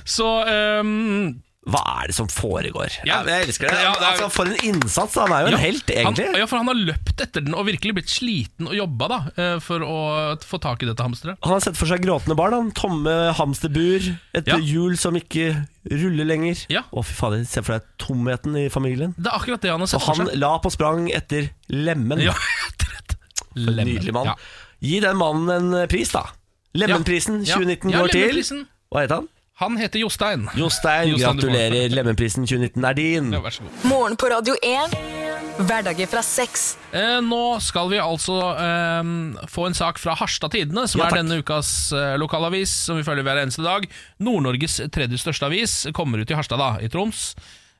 S2: Så ehm,
S1: Hva er det som foregår?
S2: Ja.
S1: Jeg- jeg elsker det.
S2: Ja, det er-
S1: altså, for en innsats! da. Han er jo en helt, egentlig.
S2: Han, ja, for han har løpt etter den og virkelig blitt sliten og jobba da eh, for å få tak i dette hamsteret.
S1: Han har sett for seg gråtende barn. Han. Tomme hamsterbur, et
S2: Ja.
S1: hjul som ikke ruller lenger.
S2: Ja.
S1: Å, fy fader, se for deg tomheten i familien.
S2: Det er akkurat det han har
S1: Og
S2: sett for
S1: han
S2: seg.
S1: la på sprang etter lemmen.
S2: Ja, rett og slett. Lemmen.
S1: Nydelig mann.
S2: Ja.
S1: Gi den mannen en eh, pris, da. Lemenprisen
S2: Ja.
S1: 2019
S2: Ja,
S1: går til
S2: Lemenprisen.
S1: Hva heter han?
S2: Han heter Jostein.
S1: Jostein.
S2: Jostein, du får den.
S1: Gratulerer. Lemenprisen 2019 er din.
S2: Ja, vær så god.
S3: Morgen på Radio 1. Hverdager fra seks.
S2: Eh, nå skal vi altså eh, få en sak fra Harstad Tidende, som
S1: Ja,
S2: er
S1: takk.
S2: denne ukas eh, lokalavis, som vi følger hver eneste dag. Nord-Norges tredje største avis kommer ut i Harstad, da, i Troms.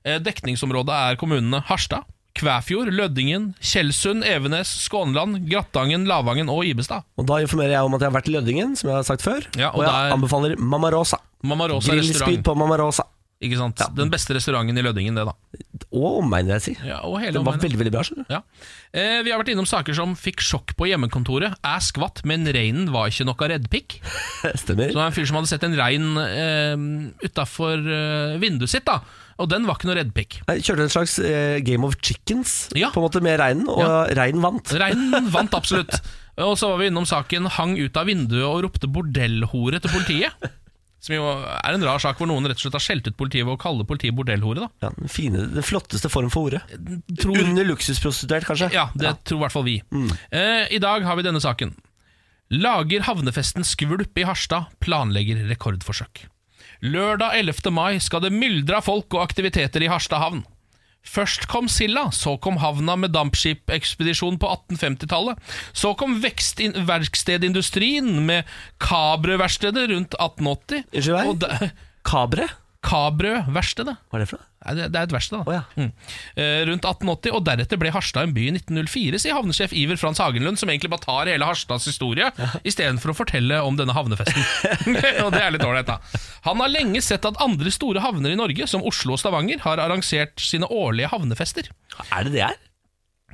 S2: Eh, dekningsområdet er kommunene Harstad, Kvæfjord, Lødingen, Tjeldsund, Evenes, Skånland, Grattangen, Lavangen og Ibestad.
S1: Og Da informerer jeg om at jeg har vært i Lødingen, som jeg har sagt før.
S2: Ja, og
S1: og jeg
S2: der-
S1: anbefaler Mamma Rosa.
S2: Mamma Rosa
S1: Grillspyd
S2: restaurant.
S1: på Mamma Rosa.
S2: Ikke sant? Den beste restauranten i Lødingen, det, da.
S1: Og omegn, vil jeg si.
S2: Ja, og hele
S1: Den var
S2: omegnen.
S1: veldig, veldig bra. skjønner du.
S2: Ja. Eh, vi har vært innom saker som fikk sjokk på hjemmekontoret. Jeg skvatt, men reinen var ikke noe reddpikk. Så
S1: Stemmer.
S2: det var en fyr som hadde sett en rein eh, utafor eh, vinduet sitt, da. Og den var ikke noe reddpikk.
S1: Jeg kjørte en slags eh, Game of Chickens
S2: Ja.
S1: På en måte med reinen, og
S2: Ja.
S1: reinen vant.
S2: Reinen vant absolutt. Og så var vi innom saken 'hang ut av vinduet og ropte bordellhore' til politiet. Som jo er en rar sak hvor noen rett og slett har skjelt ut politiet ved å kalle politiet bordellhore. da
S1: Ja, den, fine, den flotteste form for ordet.
S2: Tror-
S1: Under luksusprostituert, kanskje?
S2: Ja, det tror i hvert fall vi.
S1: Mm.
S2: Eh, I dag har vi denne saken. Lager havnefesten skvulp i Harstad, planlegger rekordforsøk. Lørdag 11. mai skal det myldre av folk og aktiviteter i Harstad havn. Først kom Silla, så kom havna med dampskipekspedisjon på 1850-tallet. Så kom vekstin- verkstedindustrien med Kabrø-verkstedet rundt 1880.
S1: Unnskyld meg?
S2: Og da-
S1: Kabre?
S2: Kabrø-verkstedet?
S1: Hva er det for noe?
S2: Nei, Det det er et verksted, da.
S1: Å ja.
S2: Mm. Eh, Rundt 1880, og deretter ble Harstad en by i 1904, sier havnesjef Iver Frans Hagenlund, som egentlig bare tar hele Harstads historie, istedenfor å fortelle om denne havnefesten. og det er litt ålreit, da. Han har lenge sett at andre store havner i Norge, som Oslo og Stavanger, har arrangert sine årlige havnefester.
S1: Er det det her?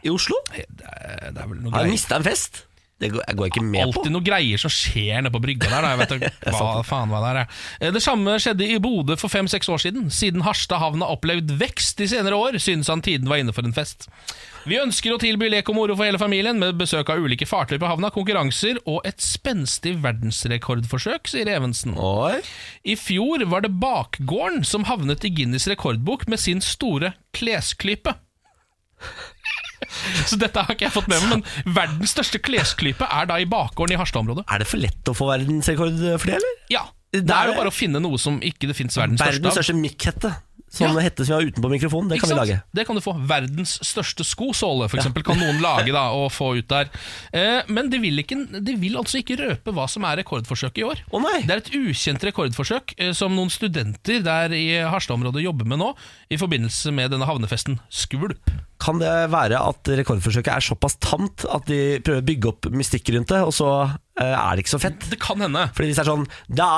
S1: I Oslo?
S2: Det er, det er vel noe
S1: Har jeg
S2: greier.
S1: mista en fest? Det går jeg går jeg ikke med på.
S2: Alltid noe greier som skjer nede på brygga der. Da. Jeg vet ikke hva faen hva det er. jeg. Eh, Det samme skjedde i Bodø for fem-seks år siden. Siden Harstad havn har opplevd vekst de senere år, synes han tiden var inne for en fest. Vi ønsker å tilby lek og moro for hele familien, med besøk av ulike fartøy på havna, konkurranser og et spenstig verdensrekordforsøk, sier Evensen.
S1: Oi.
S2: I fjor var det Bakgården som havnet i Guinness rekordbok med sin store klesklype. Så dette har ikke jeg fått med meg, men verdens største klesklype er da i bakgården i Harstad-området.
S1: Er det for lett å få verdensrekord for det, eller?
S2: Ja,
S1: Det
S2: det
S1: er
S2: er jo
S1: det.
S2: bare å finne noe som ikke det fins verdens største
S1: Verdens
S2: av.
S1: største mikkhette. Sånn
S2: Ja.
S1: hette som vi har utenpå mikrofonen. Det kan
S2: Ikke
S1: vi
S2: sant?
S1: lage.
S2: Det kan du få. Verdens største skosåle, for eksempel, kan noen lage da og få ut der. Eh, men de vil, ikke, de vil altså ikke røpe hva som er rekordforsøket i år.
S1: Å nei!
S2: Det er et ukjent rekordforsøk eh, som noen studenter der i Harstad-området jobber med nå, i forbindelse med denne havnefesten Skvulp.
S1: Kan det være at rekordforsøket er såpass tamt at de prøver å bygge opp mystikk rundt det, og så eh, er det ikke så fett?
S2: Det kan hende.
S1: Fordi hvis det er sånn Det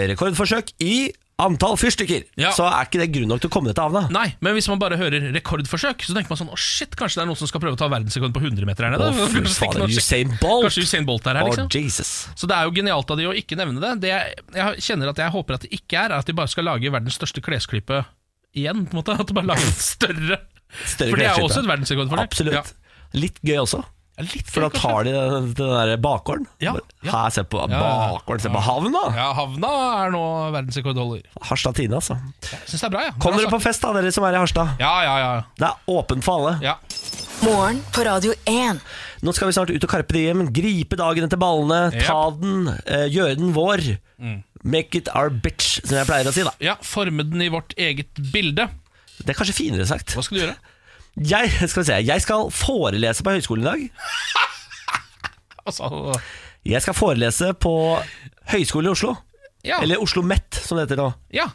S1: er rekordforsøk i antall fyrstikker,
S2: Ja.
S1: så er ikke det grunn nok til å komme dette av, da.
S2: Nei, men hvis man bare hører rekordforsøk, så tenker man sånn Å, shit, kanskje det er noen som skal prøve å ta verdensrekord på 100 meter her nede?
S1: Å, fy
S2: Kanskje-
S1: fader.
S2: kanskje-
S1: Usain Bolt!
S2: Kanskje Usain Bolt er her,
S1: Å,
S2: liksom.
S1: Jesus.
S2: Så det er jo genialt av de å ikke nevne det. Det jeg, jeg kjenner at jeg håper at det ikke er, er at de bare skal lage verdens største klesklype igjen. på en måte At de bare lager en større.
S1: Større
S2: For det er jo
S1: klesklippe.
S2: også et verdensrekord for det.
S1: Absolutt.
S2: Ja.
S1: Litt gøy også.
S2: Ja, litt
S1: For da tar de den, den der bakgården.
S2: Ja,
S1: Bare,
S2: ja.
S1: Her, se på
S2: ja.
S1: bakgården, se på havna!
S2: Ja, Havna er nå verdensrekordholder.
S1: Harstad Tine, altså.
S2: Jeg syns det er bra, ja.
S1: Kom
S2: Bra
S1: dere på
S2: sagt.
S1: fest, da, dere som er i Harstad.
S2: Ja, ja, ja.
S1: Det er åpent for alle.
S2: ja.
S3: Morgen på Radio 1.
S1: Nå skal vi snart ut og karpe det hjem. Gripe dagen etter ballene,
S2: Yep.
S1: ta den, eh, gjøre den vår.
S2: Mm.
S1: Make it our bitch, som jeg pleier å si. da
S2: ja. Forme den i vårt eget bilde.
S1: Det er kanskje finere sagt.
S2: Hva skal du gjøre?
S1: Jeg skal, vi se, jeg skal forelese på høyskolen i dag.
S2: Altså,
S1: Jeg skal forelese på Høgskolen i Oslo.
S2: ja.
S1: Eller Oslo Met, som det heter nå.
S2: ja.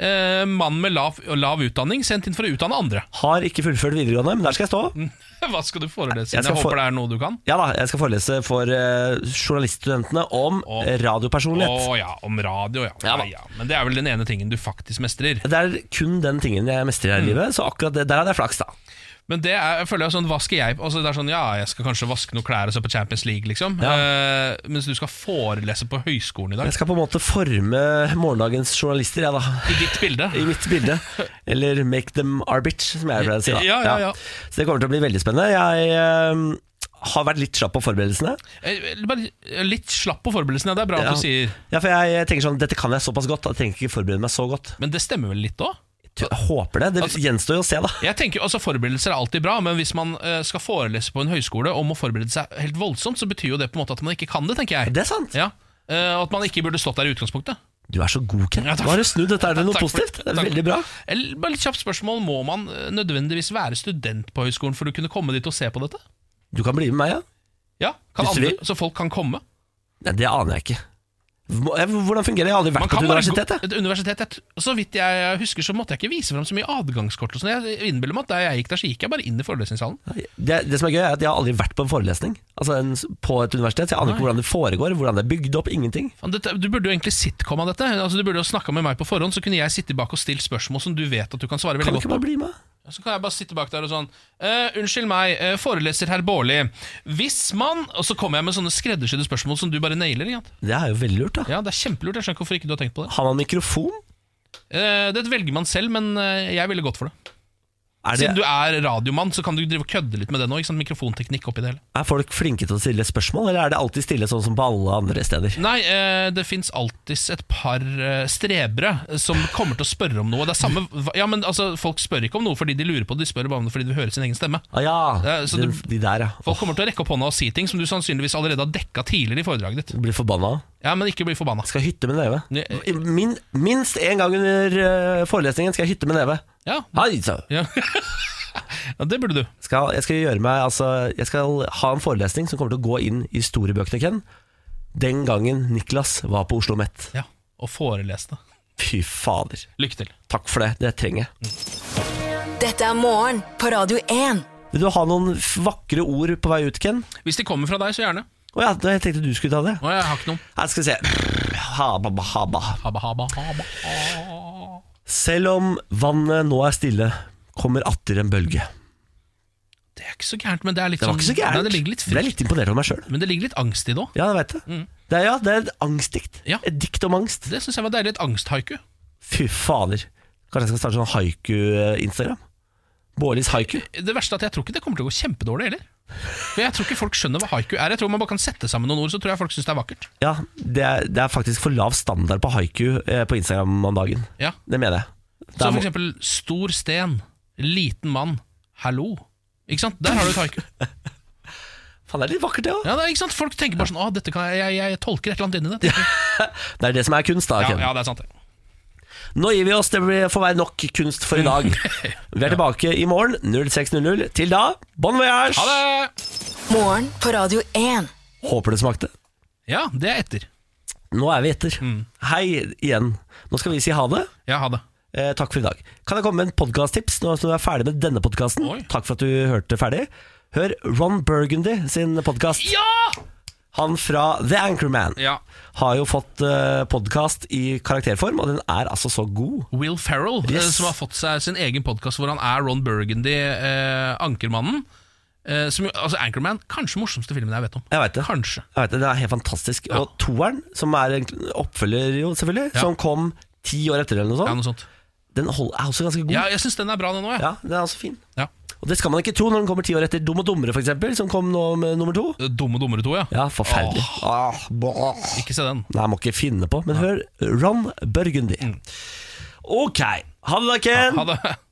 S2: Eh, mann med lav, lav utdanning sendt inn for å utdanne andre.
S1: Har ikke fullført videregående, men der skal jeg stå.
S2: Hva skal du forelese?
S1: Jeg
S2: Jeg,
S1: skal
S2: jeg
S1: for-
S2: håper det er noe du kan.
S1: Ja da, jeg skal forelese for eh, journaliststudentene om
S2: Om-
S1: eh,
S2: Å
S1: radiopersonlighet.
S2: ja, om radio, ja.
S1: Ja
S2: Ja,
S1: da.
S2: ja. Men det er vel den ene tingen du faktisk mestrer.
S1: Det er kun den tingen jeg mestrer
S2: Mm.
S1: her i livet, så akkurat det, der hadde jeg flaks, da.
S2: Men det er, jeg føler jeg sånn, hva skal jeg altså, Det er sånn, ja, jeg skal kanskje vaske noen klær og se på Champions League, liksom. Eh, mens du skal forelese på høyskolen i dag.
S1: Jeg skal på en måte forme morgendagens journalister, jeg, da.
S2: I ditt bilde.
S1: i mitt bilde. Eller 'make them our bitch', som jeg pleier å si. Da.
S2: Ja, ja, ja.
S1: Så det kommer til å bli veldig spennende. Jeg eh, har vært litt slapp på forberedelsene.
S2: Eh, Bare litt slapp på forberedelsene, det er bra
S1: Ja.
S2: at du sier
S1: Ja, for jeg tenker sånn, Dette kan jeg såpass godt, at jeg trenger ikke forberede meg så godt.
S2: Men det stemmer vel litt òg?
S1: Jeg håper det. Det
S2: Altså-
S1: gjenstår jo å se, da.
S2: Jeg tenker, altså Forberedelser er alltid bra, men hvis man eh, skal forelese på en høyskole og må forberede seg helt voldsomt, så betyr jo det på en måte at man ikke kan det, tenker jeg.
S1: Det er sant.
S2: Ja. Eh, og at man ikke burde stått der i utgangspunktet.
S1: Du er så god, Ken.
S2: Ja, takk.
S1: Nå har du snudd dette her til noe
S2: Takk for-
S1: positivt. Det er
S2: takk.
S1: veldig bra.
S2: Eller, bare litt kjapt spørsmål Må man eh, nødvendigvis være student på høyskolen for å kunne komme dit og se på dette?
S1: Du kan bli med meg, ja.
S2: Ja, kan
S1: Hvis du
S2: andre,
S1: vil.
S2: Så folk kan komme?
S1: Nei, det aner jeg ikke. Må- jeg- Hvordan fungerer det? Jeg har aldri vært på et
S2: bare gå-
S1: universitet. jeg.
S2: et universitet jeg, t- Så vidt jeg husker, så måtte jeg ikke vise fram så mye adgangskort. Og sånn. jeg innbiller meg at da jeg gikk der, så gikk jeg bare inn i forelesningssalen.
S1: Det, det som er gøy, er at jeg har aldri vært på en forelesning Altså en, s- på et universitet. Så jeg aner ikke hvordan det foregår, hvordan det er bygd opp. Ingenting.
S2: Faen, dette- Du burde jo egentlig sitcom av dette. Altså, du burde jo snakka med meg på forhånd, så kunne jeg sitte bak og stilt spørsmål som du vet at du kan svare
S1: Kan du
S2: veldig godt
S1: ikke
S2: på.
S1: bare bli med?
S2: Så kan jeg bare sitte bak der og sånn «Eh, Unnskyld meg, eh, foreleser herr Baarli. Hvis man Og så kommer jeg med sånne skreddersydde spørsmål som du bare nailer. Ikke sant?
S1: Det er jo veldig lurt, da.
S2: Ja, det er kjempelurt. Jeg skjønner ikke hvorfor ikke du har tenkt på det.
S1: Har man mikrofon?
S2: Eh, det velger man selv, men eh, jeg ville gått for det.
S1: Er, det,
S2: Siden du er radiomann, så kan du drive og kødde litt med det nå. Ikke sant? Mikrofonteknikk oppi det hele.
S1: er folk flinke til å stille spørsmål, eller er det alltid stille sånn som på alle andre steder?
S2: Nei, eh, det fins alltids et par eh, strebere som kommer til å spørre om noe. Det er samme, ja, men altså, Folk spør ikke om noe fordi de lurer på det, de spør bare om det fordi de vil høre sin egen stemme.
S1: Ah, ja,
S2: Ja, så
S1: de,
S2: du-
S1: de der, ja.
S2: Folk kommer til å rekke opp hånda og si ting som du sannsynligvis allerede har dekka tidligere i foredraget ditt.
S1: Blir forbanna.
S2: Ja, men ikke bli forbanna.
S1: Skal hytte med neve.
S2: Ja, eh.
S1: Min, minst én gang under eh, forelesningen skal jeg hytte med neve.
S2: Ja.
S1: Hei, sa hun.
S2: Ja. ja, det burde du.
S1: skal, jeg skal gjøre meg Altså, jeg skal ha en forelesning som kommer til å gå inn i historiebøkene, Ken. Den gangen Niklas var på Oslo Met.
S2: Ja, Og forelese det.
S1: Fy fader.
S2: Lykke til.
S1: Takk for det. Det trenger jeg.
S3: Dette er morgen på Radio 1.
S1: Vil du ha noen f- vakre ord på vei ut, Ken?
S2: Hvis de kommer fra deg, så gjerne.
S1: Å ja, da- jeg tenkte du skulle ta det.
S2: Å, jeg har ikke noen.
S1: Her skal vi se. Haba, ba, haba.
S2: Haba, haba, haba.
S1: Selv om vannet nå er stille, kommer atter en bølge.
S2: Det er ikke så gærent, men det er litt
S1: Det var ikke så
S2: sånn-
S1: gærent.
S2: Nei, det ligger litt
S1: Ble
S2: frykt.
S1: litt imponert over meg sjøl.
S2: Men det ligger litt angst i det òg.
S1: Ja, jeg veit det. Det er, ja, det er et angstdikt.
S2: Ja.
S1: Et dikt om angst.
S2: Det syns jeg var deilig. Et angsthaiku.
S1: Fy fader. Kanskje jeg skal starte sånn haiku-instagram? Bårlis haiku.
S2: Det verste er at jeg tror ikke det kommer til å gå kjempedårlig heller. For Jeg tror ikke folk skjønner hva haiku er. Jeg tror man bare kan sette sammen noen ord, så tror jeg folk syns det er vakkert.
S1: Ja, det er, det er faktisk for lav standard på haiku eh, på Instagram om dagen.
S2: Ja.
S1: Det mener jeg. Det
S2: Så
S1: er
S2: for
S1: må-
S2: eksempel stor sten, liten mann, hallo. Ikke sant? Der har du et haiku.
S1: Faen, det er litt vakkert, det òg.
S2: Ja, det er, ikke sant? Folk tenker bare sånn Å, dette kan jeg, jeg, jeg tolker et eller annet inni det.
S1: Det er det som er kunst, da.
S2: Ja,
S1: Ken.
S2: ja, det er sant. det.
S1: Nå gir vi oss. Det blir- får være nok kunst for i dag. Vi er tilbake i morgen 06.00. Til da, bon voyage!
S2: Ha det!
S3: Morgen på Radio 1.
S1: Håper det smakte.
S2: Ja, det er etter.
S1: Nå er vi etter.
S2: Mm.
S1: Hei igjen. Nå skal vi si ha det.
S2: Ja, ha det.
S1: Eh, takk for i dag. Kan jeg komme med en podkasttips når du er ferdig med denne podkasten?
S2: Oi.
S1: Takk for at du hørte ferdig. Hør Ron Burgundy sin podkast.
S2: Ja!
S1: Han fra The Anchorman
S2: Ja.
S1: har jo fått uh, podkast i karakterform, og den er altså så god.
S2: Will Ferrell, eh,
S1: Yes.
S2: som har fått seg sin egen podkast hvor han er Ron Burgundy, eh, ankermannen. Eh, som, jo- altså Anchorman, kanskje morsomste filmen jeg vet om.
S1: Jeg veit det.
S2: Kanskje.
S1: Jeg vet det, Den er helt fantastisk.
S2: Ja.
S1: Og toeren, som er en oppfølger, jo selvfølgelig,
S2: Ja.
S1: som kom ti år etter, eller noe
S2: Ja,
S1: sånt,
S2: noe sånt.
S1: den hold, er også ganske god.
S2: ja jeg syns den er bra, den òg. Ja.
S1: Ja, den er altså fin.
S2: Ja.
S1: Og det skal man ikke tro når den kommer ti år etter Dum og dummere, for eksempel, som kom nå med nummer to.
S2: Dumme dummere to, ja.
S1: Ja, forferdelig. Ah, bah.
S2: Ikke se den.
S1: Nei, jeg må ikke finne på. Men hør Ron Burgundy. Ok. Ha det da, Ken.
S2: Mm. Ha det.